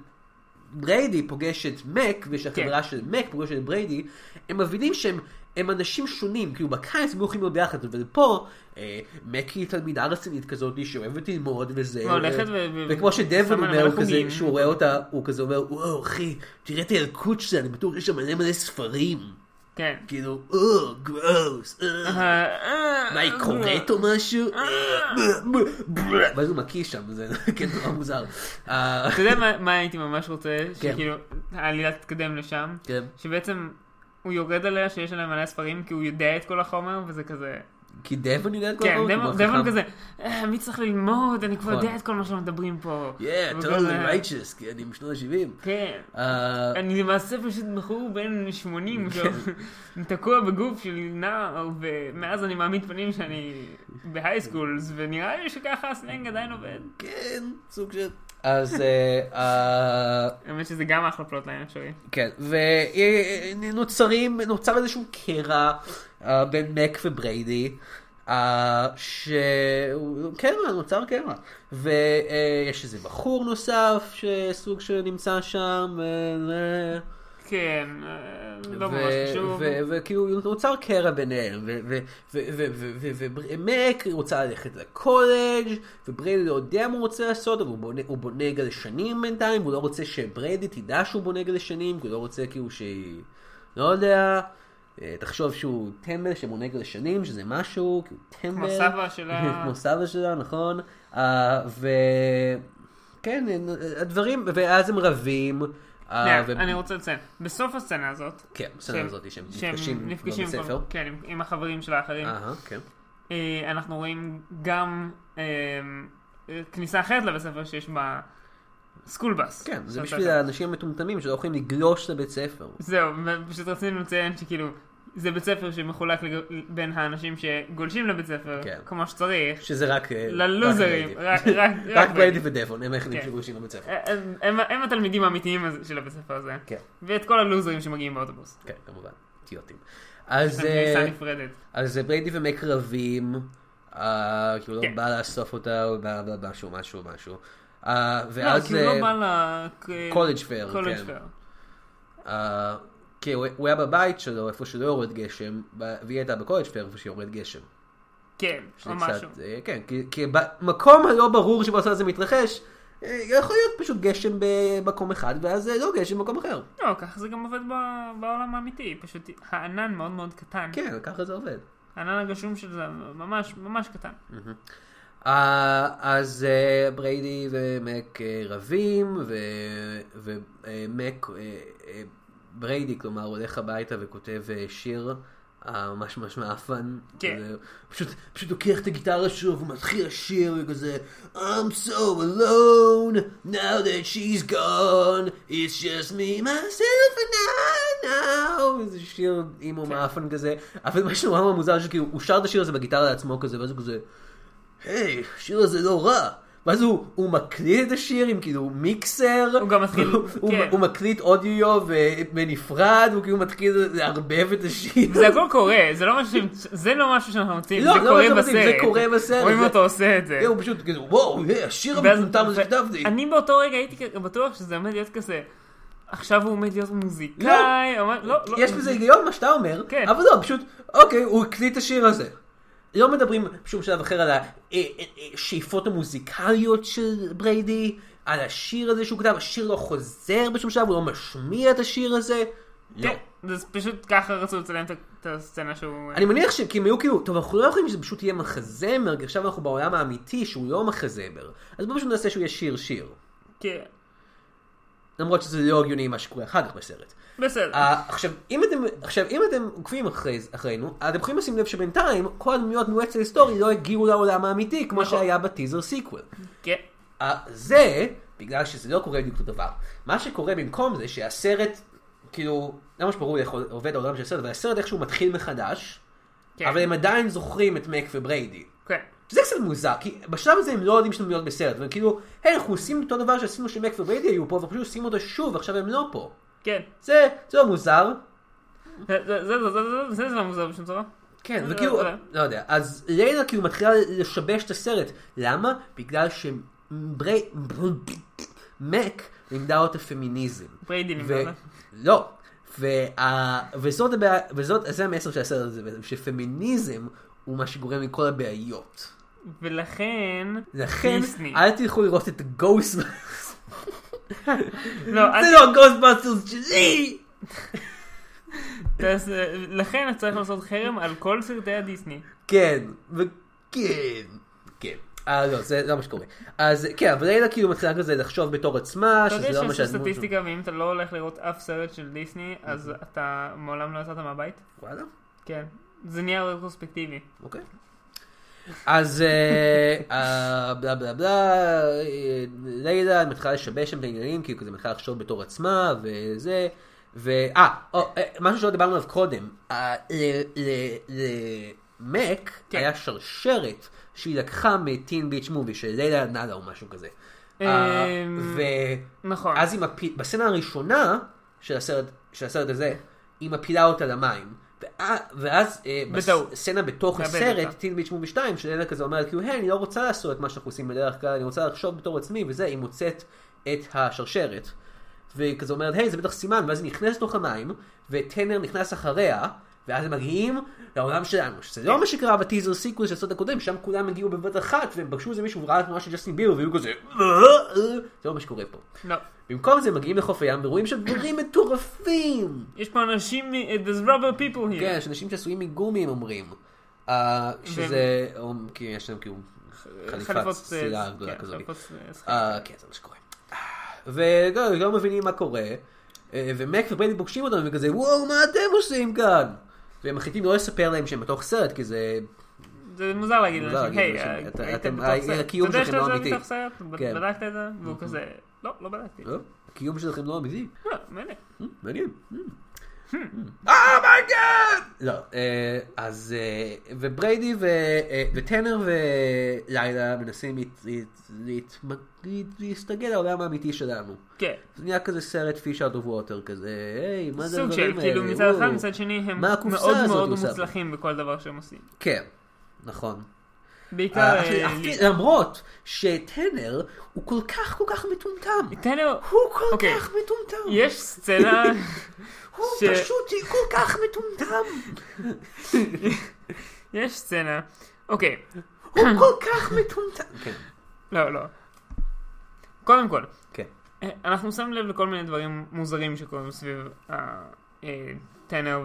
S1: בריידי פוגש את מק, ושהחברה
S2: כן.
S1: של מק פוגשת את בריידי, הם מבינים שהם... הם אנשים שונים, כאילו בקיץ הם הולכים להיות ביחד, אבל פה, אה, מק היא תלמידה רצינית כזאת, שאוהבת ללמוד וזה,
S2: והולכת ו- ו-
S1: וכמו
S2: שמה
S1: שדבון
S2: לב
S1: אומר, הוא
S2: לחוגים.
S1: כזה, שהוא רואה אותה, הוא כזה אומר, וואו אחי, תראה את הילקוט שלה, אני בטוח שיש שם מלא מלא ספרים.
S2: כן.
S1: כאילו, אה, גרוס, אה, מה
S2: אה,
S1: היא קוראת או משהו? אה, אה, אה, ואז הוא מקיא שם, זה כן נורא מוזר. אה,
S2: אתה יודע מה- מה הייתי ממש רוצה?
S1: כן.
S2: שכאילו, העלילה תתקדם לשם.
S1: כן,
S2: שבעצם הוא יורד עליה שיש עליה מלא ספרים כי הוא יודע את כל החומר וזה כזה...
S1: כי דבון יודע את כל
S2: כן,
S1: הדברים,
S2: דמון-
S1: הוא
S2: דמון
S1: חכם.
S2: כזה, "אה, מי צריך ללמוד? אני כבר
S1: נכון.
S2: יודע את כל מה שמדברים פה.
S1: Yeah,
S2: וכזה-
S1: totally righteous, כי אני משנות ה-70. אה,
S2: כן. אני למעשה פשוט בחור בן 80,
S1: כן.
S2: שהוא תקוע בגוף של נער, ומאז אני מעמיד פנים שאני בהייסקולס, ונראה לי שככה הסלנג עדיין עובד.
S1: כן, סוג של... אז אה, אה,
S2: האמת שזה גם אחלה פלוט ליין אפשרי.
S1: כן, ונוצרים, נוצר איזשהו קרע אה, בין מק ובריידי, אה, ש... קרע, נוצר קרע. ויש איזה בחור נוסף, שסוג שנמצא שם, אה, אה,
S2: כן, אה, לא
S1: ו-
S2: ממש חשוב.
S1: ו- וכאילו נוצר קרע ביניהם, ומק רוצה ללכת לקולג' ובריידי לא יודע מה הוא רוצה לעשות, אבל הוא בונה- הוא בונה גלשנים בינתיים, הוא לא רוצה שבריידי תדע שהוא בונה גלשנים, כי הוא לא רוצה כאילו שהיא, לא יודע, אה, תחשוב שהוא טמבל שבונה גלשנים, שזה משהו, כי הוא טמבל.
S2: כמו סבא שלה.
S1: כמו סבא שלה, נכון. אה, ו... כן, הדברים, ואז הם רבים. אה,
S2: כן,
S1: ו-
S2: אני רוצה לציין, בסוף הסצנה הזאת,
S1: כן, בסדר הזאת שהם נפגשים בבית
S2: עם כל-
S1: ספר.
S2: כן, עם- עם החברים של האחרים,
S1: אהה, כן.
S2: אה, אנחנו רואים גם אה, אה, כניסה אחרת לבית ספר שיש בה סקול בס.
S1: כן, זה
S2: שאתה-
S1: בשביל האנשים המטומטמים שלא יכולים לגלוש לבית ספר.
S2: זהו, פשוט רצינו לציין שכאילו, זה בית ספר שמחולק לג- בין האנשים שגולשים לבית ספר,
S1: כן.
S2: כמו שצריך,
S1: שזה רק... אה,
S2: ללוזרים,
S1: רק
S2: רק-
S1: בריידי.
S2: רק-
S1: רק
S2: רק
S1: בריידי ודבון, הם היחידים
S2: כן.
S1: שגולשים לבית ספר.
S2: הם- הם הם התלמידים האמיתיים הזה- של הבית ספר הזה,
S1: כן.
S2: ואת כל הלוזרים שמגיעים באוטובוס.
S1: כן, כמובן. טיוטים. אז...
S2: זה
S1: אה,
S2: כניסה נפרדת.
S1: אז אה, בריידי ומק רבים, אה, כי הוא לא
S2: כן.
S1: בא לאסוף אותה, הוא בא בא- משהו, משהו, משהו. אה,
S2: לא,
S1: ואז...
S2: כי הוא
S1: אה,
S2: לא בא ל... כ-
S1: קולג' פייר,
S2: קולג'
S1: כן.
S2: פייר.
S1: אה, כן, הוא- הוא היה בבית שלו, איפה שלא יורד גשם, ב- והיא הייתה בקולג' פייר, איפה שיורד גשם.
S2: כן,
S1: שזה
S2: או
S1: קצת,
S2: משהו.
S1: אה, כן, כי- כי במקום הלא ברור שבו הזה מתרחש, אה, יכול להיות פשוט גשם במקום אחד, ואז אה, לא גשם במקום אחר.
S2: לא, ככה זה גם עובד ב- בעולם האמיתי, פשוט הענן מאוד מאוד קטן.
S1: כן, ככה זה עובד.
S2: הענן הגשום של זה ממש ממש קטן.
S1: Mm. אה, אז אה, בריידי ומק אה, רבים, ומק, אה, בריידי כלומר הולך הביתה וכותב אה, שיר אה, ממש ממש מאפן.
S2: כן.
S1: כזה, פשוט, פשוט לוקח את הגיטרה שלו ומתחיל לשיר וכזה I'm so alone now that she's gone it's just me myself and I now איזה שיר אימו מאפן כזה אבל מה שנורא נורא מוזר שכאילו הוא שר את השיר הזה בגיטרה לעצמו כזה ואז הוא כזה היי, השיר הזה לא רע. ואז הוא, הוא מקליט את השיר עם כאילו מיקסר,
S2: הוא גם מתחיל-
S1: הוא, הוא,
S2: כן.
S1: הוא מקליט אודיו ו- בנפרד, הוא כאילו מתחיל לערבב את השיר.
S2: זה הכל קורה, זה לא משהו, זה לא משהו שאנחנו רוצים,
S1: לא,
S2: זה
S1: לא
S2: קורה
S1: משהו שאנחנו
S2: בסרט.
S1: רוצים, זה קורה בסרט,
S2: רואים
S1: זה-
S2: אותו עושה את זה.
S1: כן, הוא פשוט כאילו, וואו, היי, השיר
S2: ואז-
S1: המטומטם הזה
S2: ו-
S1: שכתבתי.
S2: אני באותו רגע הייתי כ- בטוח שזה עומד להיות כזה. "אה, עכשיו הוא עומד להיות מוזיקאי, אמר- לא, לא.
S1: יש בזה היגיון מה שאתה אומר,
S2: כן.
S1: אבל לא, פשוט, אוקיי, הוא הקליט את השיר הזה. לא מדברים בשום שלב אחר על אה, השאיפות המוזיקליות של בריידי, על השיר הזה שהוא כתב, השיר לא חוזר בשום שלב, הוא לא משמיע את השיר הזה. לא.
S2: כן, זה פשוט ככה רצו לצלם את ה- את הסצנה שהוא...
S1: אני מניח שהם כאילו היו כאילו, טוב, אנחנו לא יכולים שזה פשוט יהיה מחזמר, כי עכשיו אנחנו בעולם האמיתי שהוא לא מחזמר. אז בואו פשוט נעשה שהוא יהיה שיר שיר.
S2: כן,
S1: למרות שזה לא הגיוני מה שקורה אחר כך בסרט.
S2: בסדר.
S1: אה, עכשיו, אם אתם, עכשיו, אם אתם עוקבים אחרי, אחרינו, אתם יכולים לשים לב שבינתיים כל הדמויות מועצת ההיסטורי לא הגיעו לעולם האמיתי, כמו
S2: נכון.
S1: שהיה בטיזר סיקוול.
S2: כן.
S1: אה, זה, בגלל שזה לא קורה בדיוק אותו דבר. מה שקורה במקום זה שהסרט, כאילו, לא ממש ברור איך עובד העולם של הסרט, אבל הסרט איכשהו מתחיל מחדש,
S2: כן.
S1: אבל הם עדיין זוכרים את מק ובריידי.
S2: כן.
S1: זה קצת מוזר, כי בשלב הזה הם לא יודעים שהם להיות בסרט, והם כאילו, היי, אנחנו עושים אותו דבר שעשינו שמק ובריידי היו פה, ואנחנו פשוט עושים אותו שוב, ועכשיו הם לא פה.
S2: כן.
S1: זה, זה לא מוזר,
S2: זה- זה- זה- זה- זה- זה דבר מוזר בשום צורה.
S1: כן,
S2: לא,
S1: וכאילו,
S2: לא.
S1: לא יודע, אז ליילה כאילו מתחילה לשבש את הסרט. למה? בגלל שברי... מק לימדה אותה פמיניזם.
S2: בריידי
S1: ו-
S2: לימדה אותה.
S1: לא. וה... וזאת הבעיה, וזאת, זה המסר של הסרט הזה בעצם, שפמיניזם הוא מה שגורם לכל הבעיות.
S2: ולכן...
S1: לכן, אה,
S2: דיסני.
S1: אל תלכו לראות את גוסטבאסטרס.
S2: לא, אל
S1: זה לא גוסטבאסטרס שלי!
S2: תעש- אה, לכן את צריך לעשות חרם על כל סרטי הדיסני.
S1: כן, וכן, כן. אה, לא, זה לא מה שקורה. אז כן, אבל לילה כאילו מתחילה כזה לחשוב בתור עצמה,
S2: אתה
S1: שזה
S2: יודע
S1: לא מה
S2: שיש
S1: שהדמות...
S2: סטטיסטיקה, ואם אתה לא הולך לראות אף סרט של דיסני, אז
S1: אוקיי.
S2: אתה מעולם לא יצאת מהבית?
S1: וואלה,
S2: כן. זה נהיה רטרוספקטיבי.
S1: אוקיי. אז אה, אה, בלה בלה בלה, אה, לילה מתחילה לשבש שם את העניינים, כאילו כזה מתחילה לחשוב בתור עצמה, וזה, ו... אה, או, אה, משהו שלא דיברנו עליו קודם. אה, ל- ל- למק
S2: כן.
S1: היה שרשרת שהיא לקחה מטין ביץ' מובי של לילה נאדה או משהו כזה. אה,
S2: אמ,
S1: ו...
S2: נכון.
S1: אז היא מפיל... בסצנה הראשונה של הסרט, של הסרט הזה, היא מפילה אותה למים. ואז, ואז אה,
S2: בטעות.
S1: בסצנה בתוך
S2: מאבדת
S1: הסרט,
S2: אותה.
S1: טין ביץ' מובי 2, שלנה כזה אומרת, כאילו, היי, אני לא רוצה לעשות את מה שאנחנו עושים בדרך כלל, אני רוצה לחשוב בתור עצמי, וזה, היא מוצאת את השרשרת. והיא כזה אומרת, היי, זה בטח סימן, ואז היא נכנסת לתוך המים, וטנר נכנס אחריה, ואז הם מגיעים לעולם שלנו, שזה לא מה שקרה בטיזר סיקוול של הסרט הקודם, שם כולם הגיעו בבת אחת, והם פגשו איזה מישהו וראה תמונה של ג'סטין ביבר, והיו כזה, "אה, אה." זה לא מה שקורה פה.
S2: לא.
S1: במקום זה מגיעים לחוף הים ורואים שם דברים מטורפים.
S2: יש פה אנשים, מ- there's rubber people here.
S1: כן, יש אנשים שעשויים מגומי, הם אומרים. Uh, שזה, הם- כי יש להם כאילו חליפת
S2: אה,
S1: סירה גדולה
S2: כן,
S1: כזאת.
S2: חליפות, אה, שחקנים.
S1: אה, כן, זה מה שקורה. ולא לא מבינים מה קורה, אה, ומק ובריידי פוגשים אותם וכזה, וואו, מה אתם עושים כאן? והם מחליטים לא לספר להם שהם בתוך סרט, כי זה...
S2: זה מוזר להגיד
S1: מוזר
S2: לאנשים,
S1: להגיד
S2: היי,
S1: לאנשים,
S2: היית
S1: אתה-
S2: היית
S1: אתם-
S2: בתוך
S1: ה-
S2: סרט.
S1: הקיום
S2: אתה יודע
S1: שלכם לא
S2: שאתה
S1: אמיתי.
S2: בתוך סרט? ב-
S1: כן.
S2: בדקת את זה? והוא כזה, לא, לא בדקתי.
S1: לא, הקיום שלכם לא אמיתי.
S2: לא, מעניין.
S1: מעניין.
S2: Hmm.
S1: אומייגאד! לא, אה, אז אה, ובריידי ו- אה, וטנר ולילה מנסים להת- להת- להת- להת- להסתגל לעולם האמיתי שלנו.
S2: כן.
S1: זה נהיה כזה סרט פיש אאוט אוף ווטר כזה, היי, מה זה
S2: סוג
S1: הדברים האלה?
S2: של, כאילו מצד אחד,
S1: וואו."
S2: מצד שני, הם
S1: מה הקופסה
S2: מאוד
S1: הזאת
S2: מאוד
S1: הוא שם?
S2: מוצלחים בכל דבר שהם עושים.
S1: כן, נכון.
S2: בעיקר...
S1: אה,
S2: אה,
S1: אפילו- אפילו- למרות שטנר הוא כל כך כל כך מטומטם.
S2: תן לו...
S1: הוא כל
S2: אוקיי.
S1: כך מטומטם.
S2: יש סצנה,
S1: הוא
S2: ש-
S1: פשוט כל כך מטומטם.
S2: יש סצנה, אוקיי,
S1: הוא כל כך מטומטם. כן,
S2: לא, לא. קודם כל,
S1: כן.
S2: אה, אנחנו שמים לב לכל מיני דברים מוזרים שקורים סביב אה, אה, טנר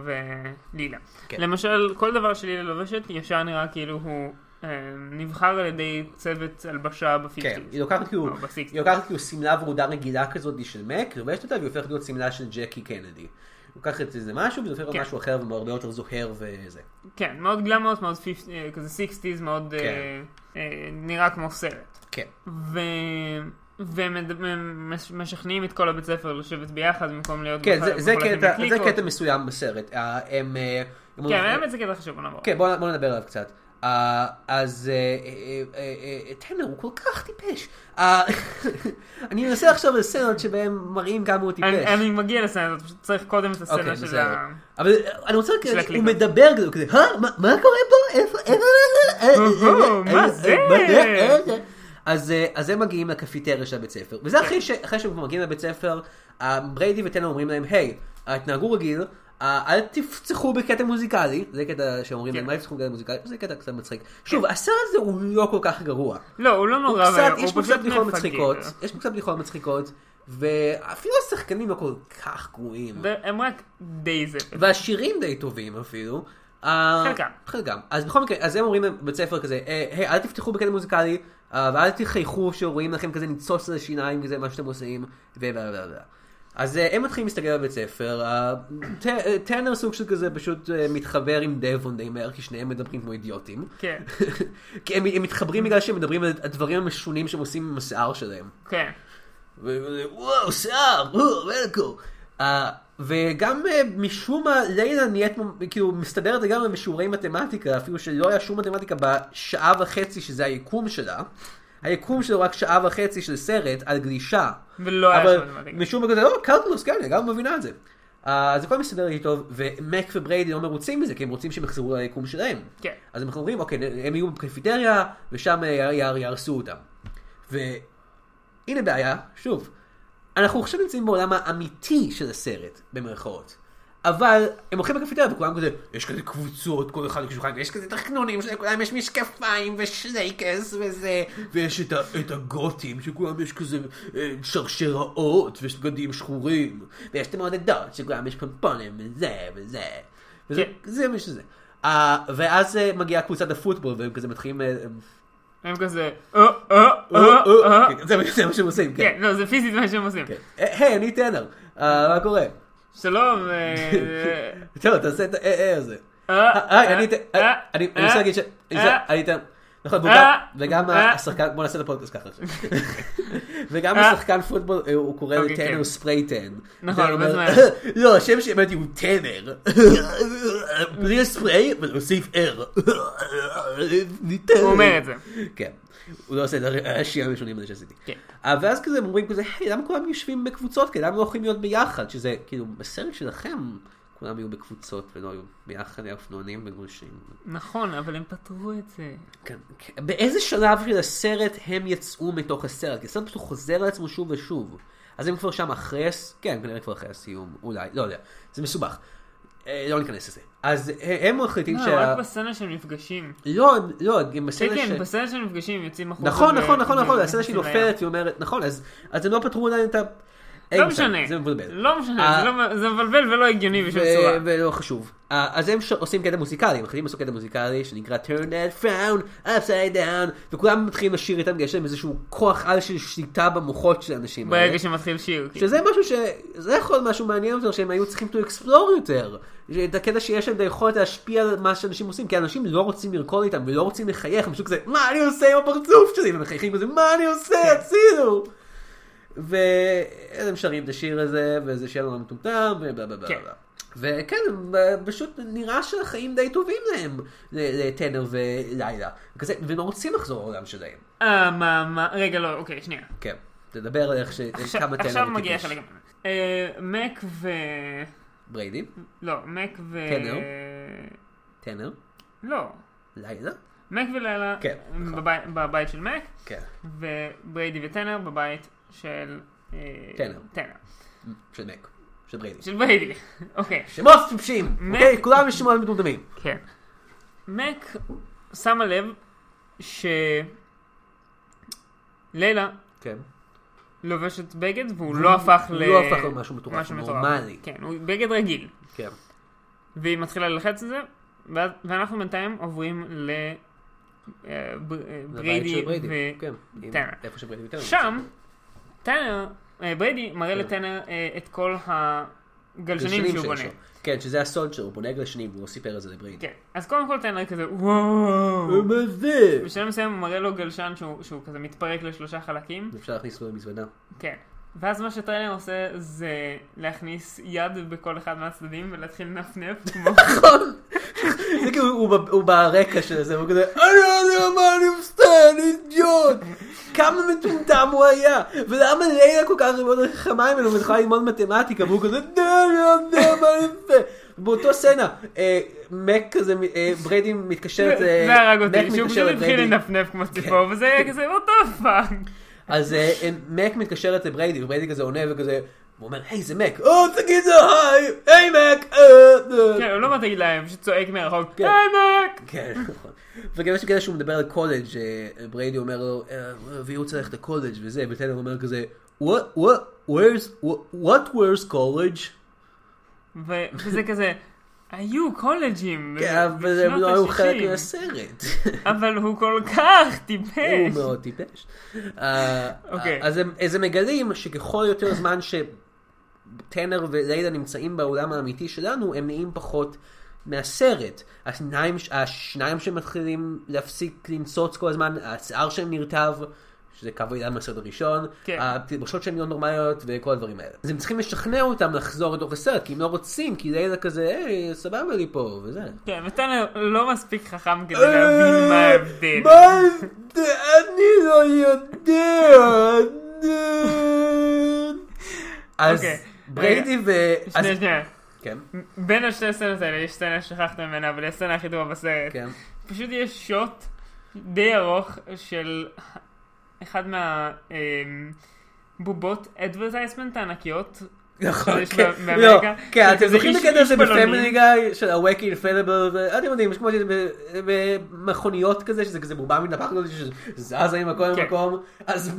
S2: ולילה.
S1: כן.
S2: למשל, כל דבר שלילה לובשת ישר נראה כאילו הוא אה, נבחר על ידי צוות הלבשה בפיפטיז.
S1: כן, היא לוקחת כאילו,
S2: או ב-60s.
S1: היא לוקחת כאילו שמלה ורודה רגילה כזאת של מק, לובשת אותה והיא הופכת להיות שמלה של ג'קי קנדי. היא לוקחת איזה משהו וזה הופך להיות
S2: כן.
S1: משהו אחר והרבה יותר זוהר וזה.
S2: כן, מאוד גלמות, מאוד 50, אה, כזה 60's, מאוד אה,
S1: כן.
S2: אה, נראה כמו סרט.
S1: כן.
S2: ו... והם מד- הם מש- משכנעים את כל הבית ספר לשבת ביחד במקום להיות
S1: כן,
S2: מח-
S1: זה- זה
S2: מחולקים
S1: קטע- זה
S2: לקליקות.
S1: קטע מסוים בסרט. אה, הם... אה, הם
S2: כן,
S1: הולכים-
S2: האמת זה קטע חשוב, בוא נעבור.
S1: כן, בואו בוא נדבר עליו קצת. אה, אז אה, אה, אה, אה, טנר הוא כל כך טיפש. אה, אני מנסה לחשוב על סצנות שבהם מראים כמה הוא טיפש.
S2: אני, אני מגיע לסצנה הזאת, פשוט צריך קודם את הסצנה
S1: אוקיי,
S2: של
S1: בסדר.
S2: ה...
S1: אבל אה, אני רוצה רק,
S2: של הקליקה.
S1: הוא מדבר כזה, הוא כזה, "הא? מה- מה קורה פה? איפה? איפה? אה, אה, אה,
S2: אוהו,
S1: אה,
S2: מה
S1: אה,
S2: זה?"
S1: אה, אה, אה, אה." אז, אה, אז הם מגיעים לקפיטריה של הבית ספר,
S2: כן.
S1: וזה אחרי, ש, אחרי שהם כבר מגיעים לבית ספר, אה, בריידי וטנר אומרים להם, היי, אה, תנהגו רגיל, אה, אל תפצחו בקטע מוזיקלי, זה קטע שאומרים
S2: כן.
S1: להם, אל תפצחו בקטע מוזיקלי, זה קטע קצת מצחיק. שוב, הסרט הזה הוא לא כל כך גרוע.
S2: לא, הוא לא
S1: הוא
S2: נורא
S1: קצת,
S2: ואיום,
S1: יש פה
S2: הוא
S1: קצת
S2: פשוט
S1: בדיחות מצחיקות,
S2: מפגר.
S1: יש פה קצת בדיחות מצחיקות, ואפילו השחקנים לא כל כך גרועים.
S2: הם רק די זה.
S1: והשירים די טובים אפילו. אה,
S2: חלקם.
S1: חלקם. אז בכל מקרה, אז הם אומרים בבית ספר כזה, "אה, היי, אל תפתחו בקטע מוזיקלי, אה, ואל תחייכו שרואים לכם כזה ניצוץ על השיניים, וזה מה שאתם עושים, ו... ו- ו- ו- אז אה, הם מתחילים להסתכל בבית ספר, אה, ט- אה, טרנר סוג של כזה פשוט אה, מתחבר עם דבון די מהר, כי שניהם מדברים כמו אידיוטים.
S2: כן.
S1: כי הם, הם מתחברים בגלל שהם מדברים על הדברים המשונים שהם עושים עם השיער שלהם.
S2: כן.
S1: ו- ו- וואו, שיער, וואו, וולקו. אה, וגם אה, משום מה לילה נהיית מ- כאילו מסתדרת לגמרי בשיעורי מתמטיקה, אפילו שלא היה שום מתמטיקה בשעה וחצי שזה היקום שלה. היקום שלו רק שעה וחצי של סרט על גלישה.
S2: ולא היה
S1: אבל
S2: שום מתמטיקה.
S1: משום מה כזה, לא, קלקולוס, כן, אני גם מבינה את זה. אה, אז הכל מסתדר לי טוב, ומק ובריידי לא מרוצים מזה, כי הם רוצים שהם יחזרו ליקום שלהם.
S2: כן.
S1: אז הם אומרים, אוקיי, הם יהיו בקפיטריה, ושם אה, י- י- יהרסו אותם. ו- הנה בעיה, שוב, אנחנו עכשיו נמצאים בעולם האמיתי של הסרט, במרכאות. אבל הם הולכים לקפיטריה וכולם כזה, יש כזה קבוצות, כל אחד בשולחן, ויש כזה תחנונים שלכולם יש משקפיים ושלייקס וזה, ויש את, ה, את הגותים, שכולם יש כזה אה, שרשראות ובגדים שחורים, ויש את המעודדות, שכולם יש פמפונים וזה וזה. וזה,
S2: כן.
S1: זה מה שזה. Uh, ואז אה, מגיעה קבוצת הפוטבול, והם כזה מתחילים... אה, אה,
S2: הם כזה, אה, אה, אה,
S1: אה, כן.
S2: אה.
S1: אה, זה מה- זה מה שהם עושים, כן.
S2: כן, לא, זה פיזית מה שהם עושים.
S1: היי, אני טנר, אה, מה קורה?
S2: שלום, אה,
S1: טוב, תעשה את האה הזה.
S2: אה,
S1: היי, אני טנר,
S2: אה,
S1: אני אני
S2: אה,
S1: רוצה להגיד ש... אני רוצה-
S2: אה,
S1: אני טנר. נכון, והוא גם-
S2: אה,
S1: וגם
S2: אה.
S1: השחקן, בוא נעשה את הפודקאסט ככה עכשיו. וגם
S2: אה.
S1: השחקן פוטבול, אה, הוא קורא
S2: אוקיי,
S1: לטנר
S2: כן.
S1: ספרי טן.
S2: נכון,
S1: ואני אומר,
S2: מה זה
S1: לא, השם שהבאתי הוא טנר. בלי הספרי, ולהוסיף R.
S2: הוא אומר את זה.
S1: כן. הוא לא עושה את השירים הראשונים האלה שעשיתי.
S2: כן.
S1: אה, ואז כזה הם אומרים כזה, היי, למה כולם יושבים בקבוצות? כי למה לא יכולים להיות ביחד? שזה, כאילו, בסרט שלכם, כולם היו בקבוצות ולא היו ביחד, היו אופנוענים וגרושים.
S2: נכון, אבל הם פתרו את זה.
S1: כן. כן. באיזה שלב של הסרט הם יצאו מתוך הסרט? כי הסרט פשוט חוזר על עצמו שוב ושוב. אז הם כבר שם אחרי, הס- כן, כנראה כבר אחרי הסיום, אולי, לא יודע. זה מסובך. אה, לא ניכנס לזה. אז אה, הם מחליטים
S2: לא,
S1: שה...
S2: רק בסצנה שהם נפגשים.
S1: לא, הם- לא, הם בסרט
S2: כן,
S1: ש...
S2: כן, בסצנה שהם נפגשים הם יוצאים החוצה.
S1: נכון,
S2: ו-
S1: נכון, נכון, נכון,
S2: ו-
S1: הסצנה שהיא
S2: נכנסים לים.
S1: נופלת, היא אומרת, נכון, אז אז הם לא פתרו עדיין את ה... אין
S2: לא
S1: מושג,
S2: משנה.
S1: זה מבלבל.
S2: לא משנה,
S1: אה,
S2: זה לא- זה מבלבל ולא הגיוני בשום
S1: ו-
S2: צורה.
S1: ולא חשוב. אה, אז הם ש- עושים קטע מוזיקלי, הם מחליטים לעשות קטע מוזיקלי שנקרא turn that frown upside down, וכולם מתחילים לשיר איתם, כי יש להם איזשהו כוח על של שליטה במוחות של האנשים האלה.
S2: ברגע שמתחיל שיר. כן.
S1: אה, שזה משהו ש... זה יכול להיות משהו מעניין יותר, שהם היו צריכים to explore יותר. את הקטע שיש להם את היכולת להשפיע על מה שאנשים עושים, כי אנשים לא רוצים לרקוד איתם ולא רוצים לחייך, הם פשוט כזה, מה אני עושה עם הפרצוף שלי? והם מחייכים כזה, מה אני
S2: כן.
S1: עושה? הצילו! והם שרים את השיר הזה, וזה שיר נורא מטומטם, ובלה בלה בלה
S2: כן.
S1: בלה. וכן, הם, אה, פשוט נראה שהחיים די טובים להם, ל- לטנר ולילה. כזה, והם לא רוצים לחזור לעולם שלהם.
S2: אה, מה, מה, רגע, לא, אוקיי, שנייה.
S1: כן, תדבר על איך ש...
S2: עכשיו-
S1: כמה טנר
S2: עכשיו מגיע
S1: וטיפוש.
S2: חלק. אה, מק ו...
S1: בריידי,
S2: לא, מק ו...
S1: טנר. טנר,
S2: לא.
S1: לילה.
S2: מק ולילה
S1: כן,
S2: הם בבית- בבית של מק,
S1: כן.
S2: ובריידי וטנר בבית של... אה,
S1: טנר.
S2: טנר.
S1: של מק. של בריידי.
S2: של בריידי. אוקיי.
S1: שמות טיפשים!
S2: מק.
S1: אוקיי? כולם יש שמות מדומדמים.
S2: כן. מק שמה לב ש... לילה
S1: כן.
S2: לובשת בגד והוא לא הפך ל...
S1: לא הפך למשהו מטורף,
S2: משהו
S1: נורמלי.
S2: כן, הוא בגד רגיל.
S1: כן.
S2: והיא מתחילה ללחץ את זה, ואז- ואנחנו בינתיים עוברים ל... אה, ב- אה,
S1: לבית של
S2: בריידי
S1: בריידי.
S2: ו...
S1: כן. עם-
S2: טנר.
S1: איפה שבריידי וטנר.
S2: שם, טנר, אה, בריידי מראה לטנר אה, את כל הגלשנים
S1: גלשנים
S2: שהוא
S1: שיש
S2: בונה.
S1: לו. כן, שזה הסוד שלו, הוא בונה גלשנים והוא סיפר את זה לבריידי.
S2: כן. אז קודם כל טנר כזה, וואו.
S1: מה זה?
S2: בשלב מסוים הוא מראה לו גלשן שהוא, שהוא כזה מתפרק לשלושה חלקים.
S1: אפשר להכניס לו למזוודה.
S2: כן. ואז מה שטרנר עושה זה להכניס יד בכל אחד מהצדדים ולהתחיל לנפנף כמו...
S1: זה כאילו הוא ב- הוא ברקע של זה, והוא כזה, I don't know מה אני מסתכל, אידיוט! כמה מטומטם הוא היה, ולמה לילה כל כך ללמוד חכמה ממנו ותוכל ללמוד מתמטיקה, והוא כזה, "I don't know מה אני מסתכל." באותו סצנה, אה, מק כזה, אה, בריידי מתקשרת, אה,
S2: זה הרג אותי,
S1: מק
S2: שהוא
S1: מתקשר
S2: פשוט התחיל
S1: לבריידי. כן.
S2: לנפנף כמו ציפור, וזה היה כזה, what the fuck.
S1: אז אה, מק מתקשרת לבריידי, ובריידי כזה עונה וכזה, הוא אומר, היי זה מק, או תגיד לו היי, היי מק, אה, אה."
S2: כן, הוא לא מתאים להם, פשוט צועק מרחוק,
S1: כן.
S2: היי מק!
S1: כן, נכון. וגם יש קטע שהוא מדבר על קולג', אה, בריידי אומר לו, "אה, והוא צריך לקולג' וזה, וטנר אומר כזה, what, what, where's, what, where's college?
S2: אה, ו- וזה כזה, היו קולג'ים.
S1: כן, אבל הם
S2: בשנות
S1: לא היו
S2: ה-שישים."
S1: חלק מהסרט.
S2: אבל הוא כל כך
S1: הוא
S2: טיפש.
S1: מאוד טיפש. אה,
S2: אוקיי.
S1: אז הם- אז הם מגלים שככל יותר זמן שטנר ולילה נמצאים בעולם האמיתי שלנו, הם נהיים פחות מהסרט. השניים, השניים שמתחילים להפסיק לנצוץ כל הזמן, השיער שלהם נרטב. שזה קו עידן מהסרט הראשון,
S2: כן.
S1: התלבשות שהן לא נורמליות וכל הדברים האלה. אז הם צריכים לשכנע אותם לחזור לתוך הסרט, כי הם לא רוצים, כי לילה כזה, היי, סבבה לי פה, וזה.
S2: כן, וטנר לא מספיק חכם כדי להבין מה ההבדל.
S1: אה, אני לא יודע. אז
S2: אוקיי.
S1: בריידי ו... אז-
S2: שנייה, שנייה.
S1: כן,
S2: בין השתי הסצנות האלה יש סצנה ששכחת ממנה, אבל היא הסצנה הכי טובה בסרט.
S1: כן.
S2: פשוט יש שוט די ארוך של אחד אה, מהבובות אדברטייסמנט הענקיות.
S1: נכון,
S2: יש
S1: כן.
S2: ב-
S1: לא,
S2: באמריקה,
S1: כן, אתם
S2: כזה
S1: זוכרים את
S2: איש-
S1: הקטע
S2: איש
S1: הזה
S2: בלוני.
S1: בפמילי גיא של ה-Wacky Infallible, אתם יודעים, יש כמו שזה ב- במכוניות כזה, שזה כזה בובה מנפחת כזה שזזה ממקום
S2: כן.
S1: למקום, אז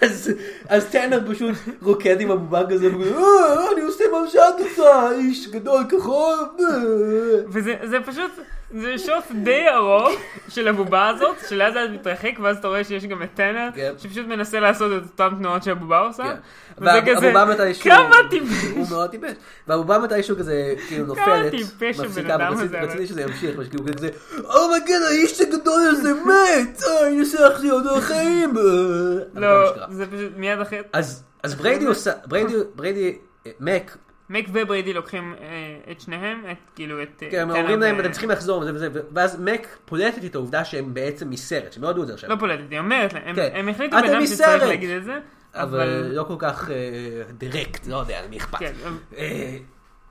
S1: אז- אז טנר פשוט רוקד עם הבובה כזה, והוא כזה, "אה, אני עושה מה שאת עושה, איש גדול כחול. אה."
S2: וזה זה פשוט, זה שוט די ארוך של הבובה הזאת, שלאט לאט מתרחק, ואז אתה רואה שיש גם את טנר,
S1: כן.
S2: שפשוט מנסה לעשות את אותן תנועות שהבובה עושה.
S1: כן.
S2: אה? וזה כזה,
S1: והבובה מתישהו...
S2: כמה טיפש.
S1: הוא מאוד טיפש. והבובה מתישהו כזה, כאילו נופלת,
S2: טיפש הבן
S1: מפסיקה,
S2: אדם
S1: ורציתי
S2: הזה,
S1: רציתי
S2: אבל-
S1: שזה ימשיך, פשוט כאילו כזה, אומייגד, האיש הגדול הזה מת! אה, אני אשלח לי עוד החיים! אה, אבל זה מה שקרה.
S2: לא, זה פשוט מיד אחרי...
S1: אז אז בריידי עושה, בריידי, בריידי, אה, מק,
S2: מק ובריידי לוקחים אה, את שניהם, את כאילו את... אה,
S1: כן, הם
S2: טנר
S1: אומרים
S2: ו-
S1: להם, אתם צריכים לחזור, וזה וזה, ואז מק פולטת את העובדה שהם בעצם מסרט, שהם לא ידעו את זה עכשיו.
S2: לא פולטת, היא אומרת להם, הם-
S1: כן.
S2: הם החליטו
S1: אתם
S2: בינם שצריך
S1: מסרט.
S2: להגיד את זה,
S1: אבל
S2: אבל...
S1: לא כל כך אה, דירקט, לא יודע, למי אכפת.
S2: כן, אבל-
S1: אה,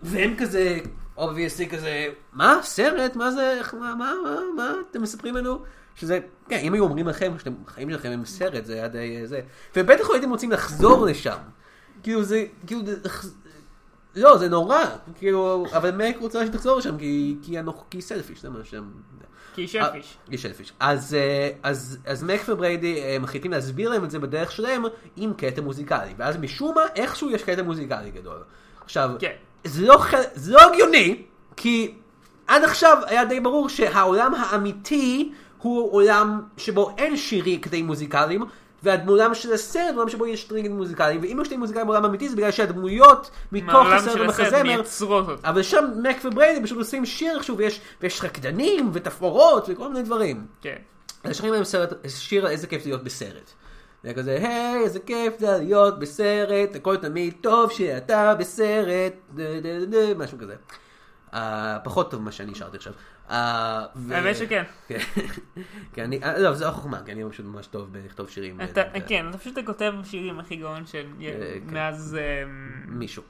S1: והם כזה, אובייסלי כזה, מה? סרט? מה זה? איך- מה? מה? מה? מה אתם מספרים לנו? שזה, כן, אם היו אומרים לכם שאתם, החיים שלכם הם סרט, זה היה די אה, זה. ובטח לא הייתם רוצים לחזור לשם. כאילו זה, כאילו, זה- לא, זה נורא. כאילו, אבל מק רוצה שתחזור לשם, כי, כי, הנוכ- כי סלפיש, זה מה שהם...
S2: כי היא שלפיש.
S1: אה, היא שלפיש. אז, אה, אז, אז מק ובריידי אה, מחליטים להסביר להם את זה בדרך שלהם עם קטע מוזיקלי. ואז משום מה, איכשהו יש קטע מוזיקלי גדול. עכשיו,
S2: כן.
S1: זה, לא, ח- זה לא הגיוני, כי עד עכשיו היה די ברור שהעולם האמיתי הוא עולם שבו אין שירי קטעים מוזיקליים. והעולם של הסרט הוא עולם שבו יש קטעים מוזיקליים, ואם יש קטעים מוזיקליים בעולם אמיתי זה בגלל שהדמויות מתוך
S2: מהעולם
S1: הסרט
S2: של הסרט
S1: ומחזמר
S2: מייצרות אותו.
S1: אבל שם מק ובריידי פשוט עושים שיר איכשהו, ויש, ויש רקדנים ותפאורות וכל מיני דברים.
S2: כן.
S1: אז שרים להם סרט, שיר על איזה כיף זה להיות בסרט. זה כזה, היי, איזה כיף זה להיות בסרט, הכל תמיד טוב שאתה בסרט, דה, דה, דה, דה", משהו כזה. Uh, פחות טוב ממה שאני שרתי עכשיו. Uh, ו...
S2: האמת שכן.
S1: כן. כי אני, אה, לא, זה לא חוכמה, כי אני פשוט ממש טוב בלכתוב שירים. אה,
S2: אתה,
S1: ו- ו-
S2: כן, אתה פשוט הכותב שירים הכי גאון של...
S1: כן.
S2: מאז אה,
S1: מישהו.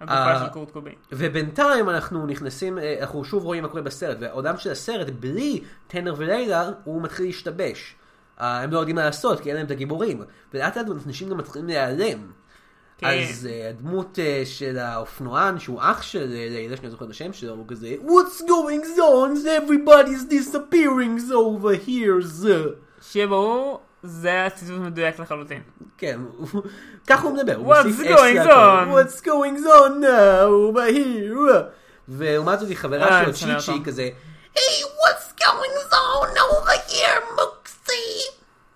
S2: הגופה
S1: אה,
S2: של קורט קוביין.
S1: ובינתיים אנחנו נכנסים, אה, אנחנו שוב רואים מה קורה בסרט, והעולם של הסרט, בלי טנר ולילה, הוא מתחיל להשתבש. אה, הם לא יודעים מה לעשות, כי אין להם את הגיבורים. ולאט לאט אנשים גם מתחילים להיעלם.
S2: כן.
S1: אז אה, הדמות אה, של האופנוען, שהוא אח של אה, לילה, שאני לא זוכר את השם שלו, הוא כזה, What's going on? Everybody's disappearing over here. זה."
S2: שיהיה ברור, זה הציטוט מדויק לחלוטין.
S1: כן, הוא- ככה הוא מדבר. הוא
S2: What's
S1: מוסיף
S2: going
S1: אקסטרה,
S2: on?
S1: What's going on now, over here. ולעומת זאת היא
S2: אה,
S1: חברה שלו,
S2: אני שונא
S1: צ'יצ'י,
S2: אותו.
S1: כזה, היי, what's going on over here, מוקסי?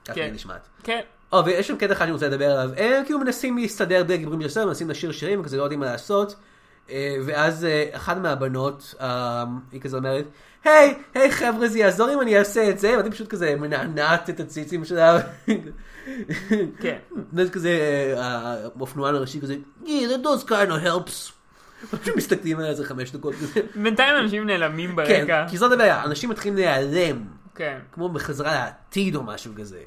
S1: ככה היא
S2: כן.
S1: נשמעת.
S2: כן.
S1: או, אה, ויש שם קטע אחד שאני רוצה לדבר עליו. הם כאילו מנסים להסתדר בלי הגיבורים של הסרט, מנסים לשיר שירים, וכזה לא יודעים מה לעשות. אה, ואז אה, אחת מהבנות, אה, היא כזה אומרת, היי, היי חבר'ה, זה יעזור אם אני אעשה את זה, ואני פשוט כזה מנענעת את הציצים שלה.
S2: כן.
S1: ואז כזה, אה, האופנוען הראשי כזה, yeah, that does kind of helps. פשוט מסתכלים על איזה חמש דקות.
S2: בינתיים אנשים נעלמים
S1: כן,
S2: ברקע.
S1: כי זאת הבעיה, אנשים מתחילים להיעלם,
S2: כן.
S1: כמו בחזרה לעתיד או משהו כזה,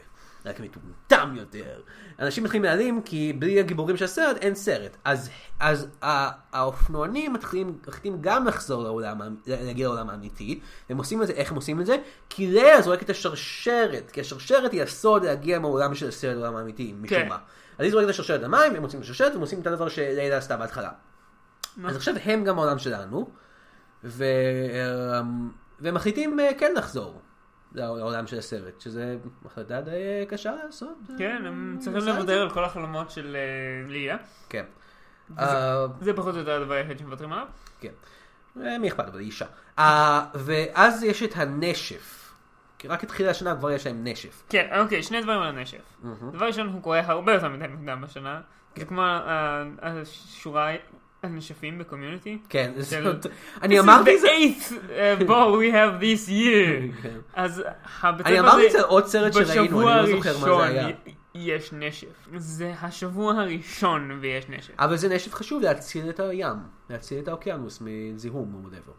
S1: רק מטומטם יותר. אנשים מתחילים להיעלם כי בלי הגיבורים של הסרט אין סרט. אז, אז ה- האופנוענים מתחילים, מחליטים גם לחזור לעולם, האמ- להגיע לעולם האמיתי, והם עושים את זה, איך הם עושים את זה? כי לאה זורקת את השרשרת, כי השרשרת היא הסוד להגיע מהעולם של הסרט לעולם האמיתי, משום
S2: כן.
S1: מה. אז היא זורקת את השרשרת למים, הם מוצאים את השרשרת, והם עושים את הדבר שלאה עשתה בהתחלה. אז עכשיו הם גם העולם שלנו, ו... אמ, והם מחליטים אה, כן לחזור לעול- לעולם של הסרט, שזה החלטה די אה, קשה לעשות.
S2: כן, הם צריכים
S1: עושה את
S2: לוותר
S1: זה.
S2: על כל החלומות של אה, ליה.
S1: כן. אה,
S2: זה פחות או יותר הדבר היחיד שמוותרים עליו.
S1: כן. אה, מי אכפת, אבל היא אישה. אה, ואז יש את הנשף. כי רק התחילה השנה כבר יש להם נשף.
S2: כן, אוקיי, שני דברים על הנשף. דבר ראשון, הוא קורה הרבה יותר מדי מוקדם בשנה.
S1: כן.
S2: זה כמו אה, השורה הנשפים בקומיוניטי.
S1: כן, זה-
S2: של-
S1: אני אמרתי את זה.
S2: This is the eighth uh, ball we have this year.
S1: כן.
S2: אז הבית
S1: אני
S2: ספר
S1: אמרתי את
S2: הזה-
S1: זה עוד סרט שראינו,
S2: בשבוע
S1: אני לא זוכר מה זה
S2: הראשון
S1: היה.
S2: י- יש נשף. זה השבוע הראשון ויש נשף.
S1: אבל זה נשף חשוב להציל את הים, להציל את האוקיינוס מזיהום או וואטאבר.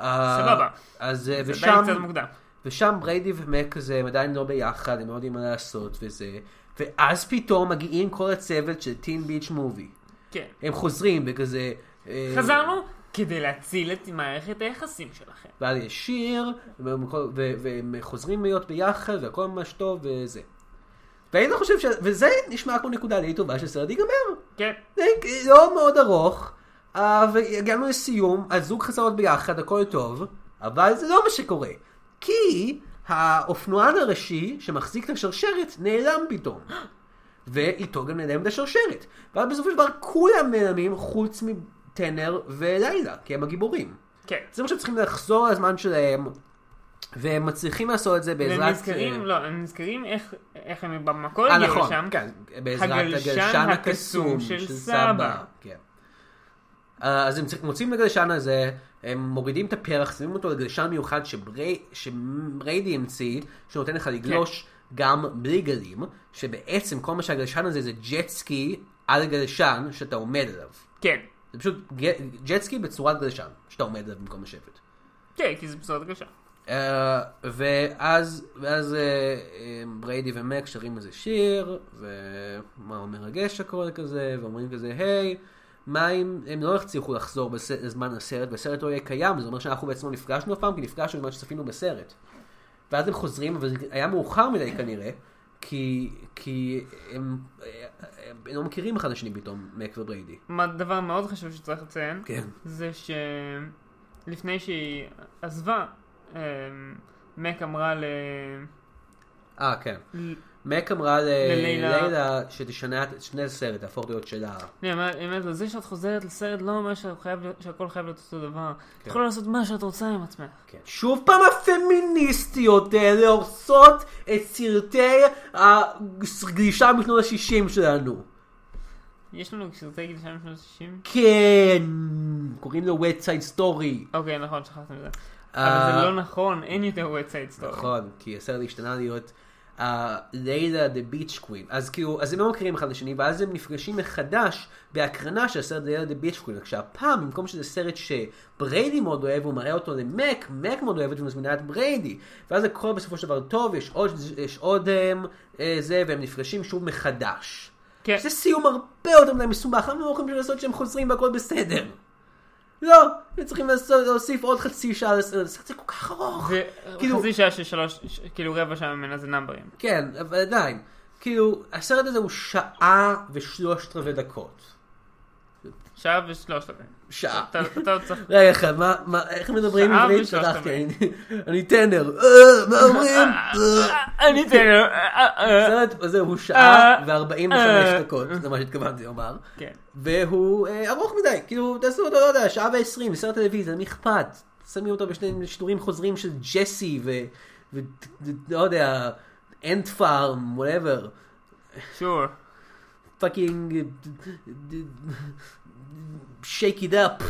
S2: סבבה.
S1: אז אה,
S2: זה
S1: ושם,
S2: עדיין קצת מוקדם.
S1: ושם בריידי ומק כזה הם עדיין לא ביחד, הם לא יודעים מה לעשות וזה, ואז פתאום מגיעים כל הצוות של טין ביץ' מובי.
S2: כן.
S1: הם חוזרים וכזה... אה,
S2: חזרנו כדי להציל את מערכת היחסים שלכם.
S1: ואז יש שיר, והם כל- ו- והם חוזרים להיות ביחד, והכל ממש טוב וזה. ואני לא חושב ש... וזה נשמע כמו נקודה די טובה שהסרט ייגמר.
S2: כן.
S1: זה לא מאוד ארוך, אה, והגענו לסיום, הזוג חזרות ביחד, הכל טוב, אבל זה לא מה שקורה. כי האופנוען הראשי שמחזיק את השרשרת נעלם פתאום. ואיתו גם נעלמת השרשרת. ואז בסופו של דבר כולם נעלמים חוץ מטנר ולילה, כי הם הגיבורים.
S2: כן.
S1: אז הם עכשיו צריכים לחזור לזמן שלהם, והם מצליחים לעשות את זה בעזרת...
S2: הם נזכרים, לא, הם נזכרים איך- איך הם במקור
S1: אה,
S2: הגיעו
S1: נכון,
S2: לשם.
S1: כן, בעזרת
S2: הגלשן
S1: הגלשן
S2: הקסום
S1: הקסום
S2: של
S1: של
S2: סבא.
S1: סבא. כן. אה, אז הם צר- מוצאים את הגלשן הזה, הם מורידים את הפרח, שמים אותו לגלשן מיוחד שברי- שבריידי המציא, שנותן לך לגלוש
S2: כן.
S1: גם בלי גלים, שבעצם כל מה שהגלשן הזה זה ג'טסקי על גלשן שאתה עומד עליו.
S2: כן.
S1: זה פשוט ג- ג'טסקי בצורת גלשן, שאתה עומד עליו במקום השבט.
S2: כן, כי זה בשורת קשה.
S1: אה, ואז, ואז אה, אה, בריידי ומק שרים איזה שיר, ומה מרגש הכל כזה, ואומרים כזה, היי, מה אם הם לא הצליחו לחזור בס... לזמן הסרט, והסרט לא יהיה קיים, זה אומר שאנחנו בעצם לא נפגשנו אף פעם, כי נפגשנו בזמן שצפינו בסרט. ואז הם חוזרים, אבל זה היה מאוחר מדי כנראה, כי, כי הם, אה, הם לא מכירים אחד את השני פתאום, מק ובריידי.
S2: מה- דבר מאוד חשוב שצריך לציין,
S1: כן.
S2: זה שלפני שהיא עזבה, אמ, מק אמרה ל...
S1: אה, כן.
S2: ל-
S1: מק אמרה
S2: ללילה-
S1: ללילה שתשנה את שני הסרט, תהפוך להיות שלה.
S2: אני אומרת- היא אומרת לו, זה שאת חוזרת לסרט לא אומר שאת חייב להיות- שהכל חייב להיות אותו דבר. את יכולה לעשות מה שאת רוצה עם עצמך.
S1: כן. שוב פעם הפמיניסטיות האלה הורסות את סרטי הגלישה משנות ה-60 שלנו.
S2: יש לנו סרטי גלישה משנות ה-60?
S1: כן, קוראים לו wet side story.
S2: אוקיי, נכון, שכחתם את זה. אבל
S1: אה,
S2: זה לא נכון, אין יותר website story.
S1: נכון, כי הסרט השתנה להיות אה, לילה דה ביץ' קווין. אז כאילו, אז הם לא מכירים אחד לשני, ואז הם נפגשים מחדש בהקרנה של הסרט לילה דה ביץ' קווין. רק שהפעם, במקום שזה סרט שבריידי מאוד אוהב, הוא מראה אותו למק, מק מאוד אוהבת ומזמינה את בריידי. ואז הכל בסופו של דבר טוב, יש עוד, יש עוד הם, אה, זה, והם נפגשים שוב מחדש.
S2: כן.
S1: זה סיום הרבה יותר מדי מסובך, למה הם לא יכולים לעשות שהם חוזרים והכל בסדר? לא, הם צריכים לעשות- להוסיף עוד חצי שעה לסרט, הסרט זה כל כך ארוך.
S2: זה
S1: כאילו-
S2: חצי שעה של שלוש, ש- כאילו רבע שעה ממנה זה נאמברים.
S1: כן, אבל עדיין. כאילו, הסרט הזה הוא שעה ושלושת רבעי דקות.
S2: שעה ושלושת רבעים.
S1: שעה.
S2: אתה אתה עוד צריך...
S1: רגע אחד, מה, מה, איך מדברים
S2: שעה
S1: עברית?
S2: ושלושת
S1: שכחתי,
S2: רבעי.
S1: אני- אני טנר. אה, מה אומרים? אה.
S2: אני טנר. אה, אה, אה.
S1: הסרט הזה הוא שעה
S2: אה, אה.
S1: ו-45 דקות, זה מה שהתכוונתי לומר.
S2: כן.
S1: והוא אה, ארוך מדי, כאילו, תעשו אותו, לא יודע, שעה ועשרים, סרט טלוויזיה, מי אכפת? שמים אותו בשני שידורים חוזרים של ג'סי ו... ו- לא יודע, אנד פארם, וואטאבר.
S2: שור.
S1: fucking uh, shake it up,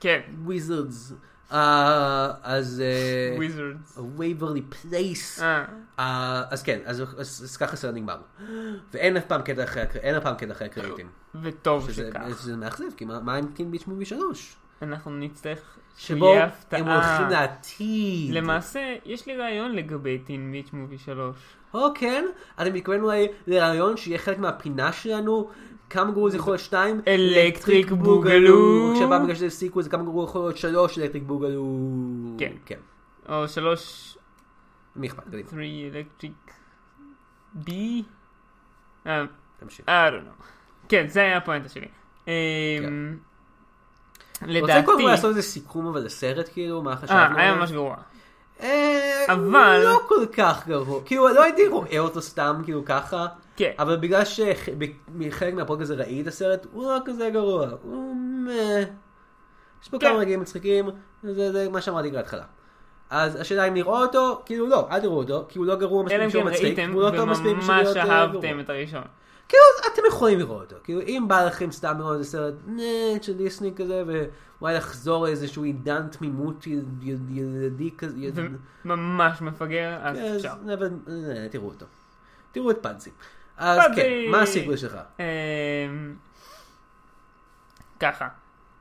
S2: כן.
S1: wizards. Uh, אה, אז... אה,
S2: Wizards.
S1: וייברלי פלייס.
S2: אה.
S1: אז כן, אז אז- אז ככה הסרט נגמר. ואין אף פעם קטע אחרי הקר- אין אף פעם קטע אחרי הקרדיטים.
S2: וטוב
S1: שזה
S2: שכך.
S1: שזה מאכזב, כי מה מה עם קינג ביץ' מובי 3?
S2: אנחנו נצטרך
S1: שבו
S2: שיהיה הפתעה.
S1: הם הולכים לעתיד.
S2: למעשה, יש לי רעיון לגבי טין ביץ' מובי 3.
S1: או כן, אני מתכוון אולי לרעיון שיהיה חלק מהפינה שלנו, כמה גרוע זה יכול להיות שתיים?
S2: אלקטריק בוגלו.
S1: כשבא בגלל שזה סיקוול זה כמה גרוע יכול להיות שלוש אלקטריק בוגלו.
S2: כן.
S1: כן.
S2: או 3,
S1: מי אכפת? קדימה,
S2: 3 אלקטריק בי? אה,
S1: תמשיך.
S2: I don't know. כן, זה היה הפואנטה שלי. אה,
S1: כן. רוצה קודם כל לעשות
S2: לדעתי...
S1: איזה סיכום אבל לסרט כאילו, מה חשבנו?
S2: אה, היה
S1: עליו?
S2: ממש גרוע.
S1: אה,
S2: אבל-
S1: לא כל כך גרוע. כאילו, לא הייתי רואה אותו סתם כאילו ככה.
S2: כן.
S1: אבל בגלל שחלק מהפרק הזה ראי את הסרט, הוא לא כזה גרוע. הוא מ... יש פה
S2: כן.
S1: כמה רגעים מצחיקים, זה, זה מה שאמרתי כבר בהתחלה. אז השאלה אם נראה אותו, כאילו לא, אל תראו אותו, כי הוא לא גרוע מספיק
S2: אלא אם
S1: שהוא
S2: כן
S1: מצחיק,
S2: ראיתם
S1: הוא לא טוב מספיק בשביל להיות
S2: וממש
S1: אה, גרוע.
S2: אהבתם את הראשון.
S1: כאילו, אתם יכולים לראות אותו. כאילו, אם בא לכם סתם לראות איזה סרט נט של דיסני כזה, ואולי לחזור לאיזשהו עידן תמימות יל- יל- ילדי כזה, יל-
S2: וממש מפגר, אז
S1: אז
S2: אפשר.
S1: אבל, אה, תראו אותו. תראו את פאנזי. אז
S2: פאנזי!
S1: כן, מה הסיכוי שלך?
S2: אמ, ככה,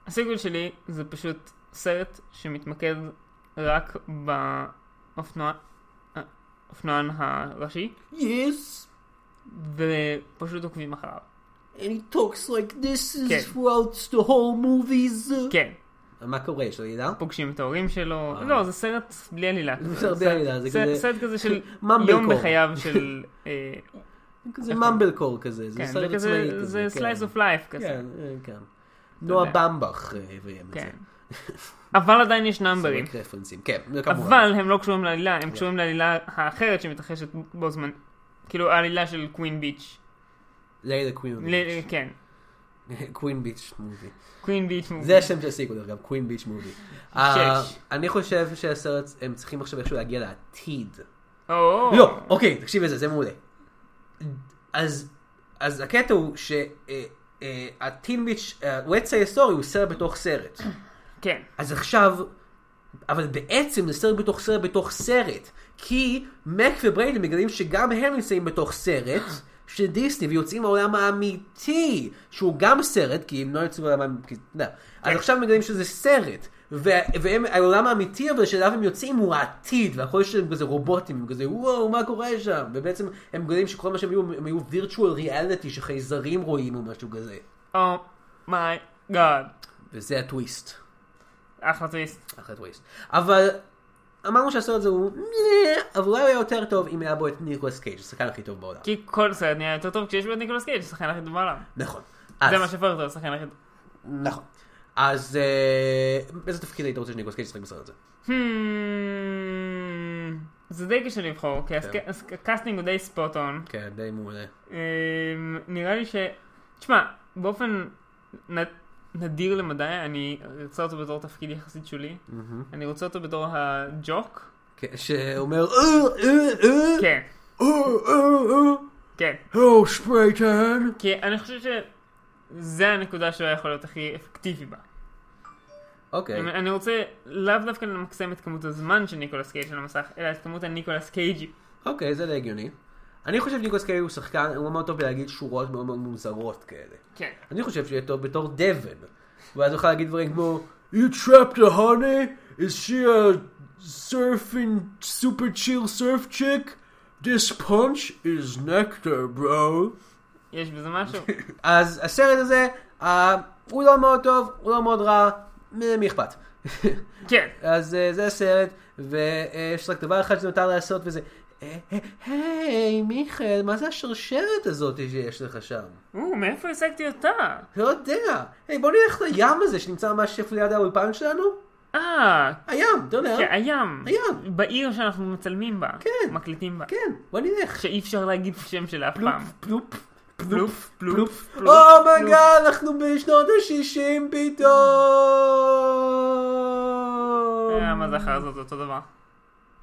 S2: הסיגול שלי זה פשוט סרט שמתמקד רק באופנוען האופנוען הראשי,
S1: Yes,
S2: ופשוט עוקבים אחריו.
S1: and he talks like this is
S2: כן.
S1: throughout the whole movies.
S2: כן,
S1: מה קורה? יש לו ידע?
S2: פוגשים את ההורים שלו, לא, זה סרט בלי עלילה. כזה.
S1: סרט בלי עלילה, אה. זה
S2: סרט-
S1: כזה-
S2: סרט כזה של
S1: ממבל
S2: יום
S1: קור.
S2: בחייו של... אה,
S1: זה ממבל קור כזה, זה
S2: כן,
S1: סרט
S2: זה
S1: עצמאי
S2: כזה,
S1: כזה.
S2: זה
S1: כן.
S2: סלייס אוף לייף כזה.
S1: כן, אה, כן. נועה במבך אה, הביאה את זה.
S2: כן. אבל עדיין יש נאמברים.
S1: רק רפרנסים, כן, זה כמובן.
S2: אבל הם לא קשורים לעלילה, הם קשורים לעלילה האחרת שמתרחשת בו זמן. כאילו העלילה של קווין ביץ'.
S1: לילה קווין
S2: ל-
S1: ביץ'.
S2: כן,
S1: קווין ביץ' מובי.
S2: קווין ביץ'. מוב-
S1: זה השם של הסיקוול, דרך אגב, קווין ביץ' מובי.
S2: שש.
S1: אה, אני חושב שהסרט, הם צריכים עכשיו איכשהו להגיע לעתיד.
S2: או,
S1: לא, אוקיי, תקשיב לזה, זה מעולה. אז, אז הקטע הוא אה, שהטין ביץ', הוואטס ההיסטורי הוא סרט בתוך סרט.
S2: כן,
S1: אז עכשיו, אבל בעצם זה סרט בתוך סרט בתוך סרט. כי מק ובריידן מגלים שגם הם נמצאים בתוך סרט של דיסני ויוצאים מהעולם האמיתי, שהוא גם סרט, כי הם לא יוצאים מהעולם האמיתי, לא. אז עכשיו מגלים שזה סרט. והעולם האמיתי אבל שאליו הם יוצאים הוא העתיד והכל שלהם כזה רובוטים הם כזה וואו מה קורה שם ובעצם הם מגלים שכל מה שהם היו הם היו וירטואל ריאליטי שחייזרים רואים או משהו כזה
S2: או מיי גאד.
S1: וזה הטוויסט
S2: אחלה טוויסט.
S1: אחרי טוויסט. אבל אמרנו שהסרט הזה הוא נה, אבל אולי הוא היה יותר טוב אם היה בו את ניקולס קייג', השחקן הכי טוב בעולם.
S2: כי כל סרט נהיה יותר טוב כשיש בו את ניקולס קייג', השחקן הכי טוב בעולם.
S1: נכון. אז,
S2: זה מה שהופך אותו לשחקן הכי טוב.
S1: נכון. אז אה, באיזה תפקיד היית רוצה שניקולס קייג' ישחק בסרט הזה?
S2: Hmm, זה די קשה לבחור, כי הסק- הסק- הקאסטינג הוא די ספוט און.
S1: כן, די מעולה.
S2: אמ, נראה לי ש... תשמע, באופן נ... נדיר למדי, אני רוצה אותו בתור תפקיד יחסית שולי. אני רוצה אותו בתור הג'וק.
S1: כן, שאומר "אה, אה, אה,
S2: כן,
S1: אה, אה, אה, oh,
S2: כן.
S1: הלו ספרייטן.
S2: כי אני חושב שזה הנקודה שהוא היה יכול להיות הכי אפקטיבי בה.
S1: אוקיי.
S2: אני אני רוצה לאו דווקא למקסם את כמות הזמן של ניקולס קייג' על המסך, אלא את כמות הניקולס קייג'י.
S1: אוקיי, זה די הגיוני. אני חושב שניקולס קייג' הוא שחקן, הוא מאוד טוב בלהגיד שורות מאוד מאוד מוזרות כאלה.
S2: כן.
S1: אני חושב שיהיה טוב בתור דבן. ואז הוא יכול להגיד דברים כמו You trapped a honey? Is she a surfing super chill surf chick? This punch is nectar, bro.
S2: יש בזה משהו?
S1: אז הסרט הזה, אה, הוא לא מאוד טוב, הוא לא מאוד רע, מ- מי אכפת?
S2: כן.
S1: אז אה, זה הסרט, ויש רק דבר אחד שנותר לעשות וזה, "אה, אה, היי מיכאל, מה זה השרשרת הזאת שיש לך שם?
S2: או, מאיפה השגתי אותה?
S1: לא יודע. היי, בוא נלך לים הזה שנמצא ממש איפה ליד האולפן שלנו.
S2: אה,
S1: הים, אתה יודע.
S2: כן, הים.
S1: הים.
S2: בעיר שאנחנו מצלמים בה.
S1: כן.
S2: מקליטים בה.
S1: כן, בוא נלך.
S2: שאי אפשר להגיד שם שלה אף פעם.
S1: פלופ, פלופ,
S2: פלופ, פלופ, פלופ.
S1: אומייגאד, אנחנו בשנות ה-60 פתאום.
S2: אה, מה זה אה, אחר זאת אותו דבר.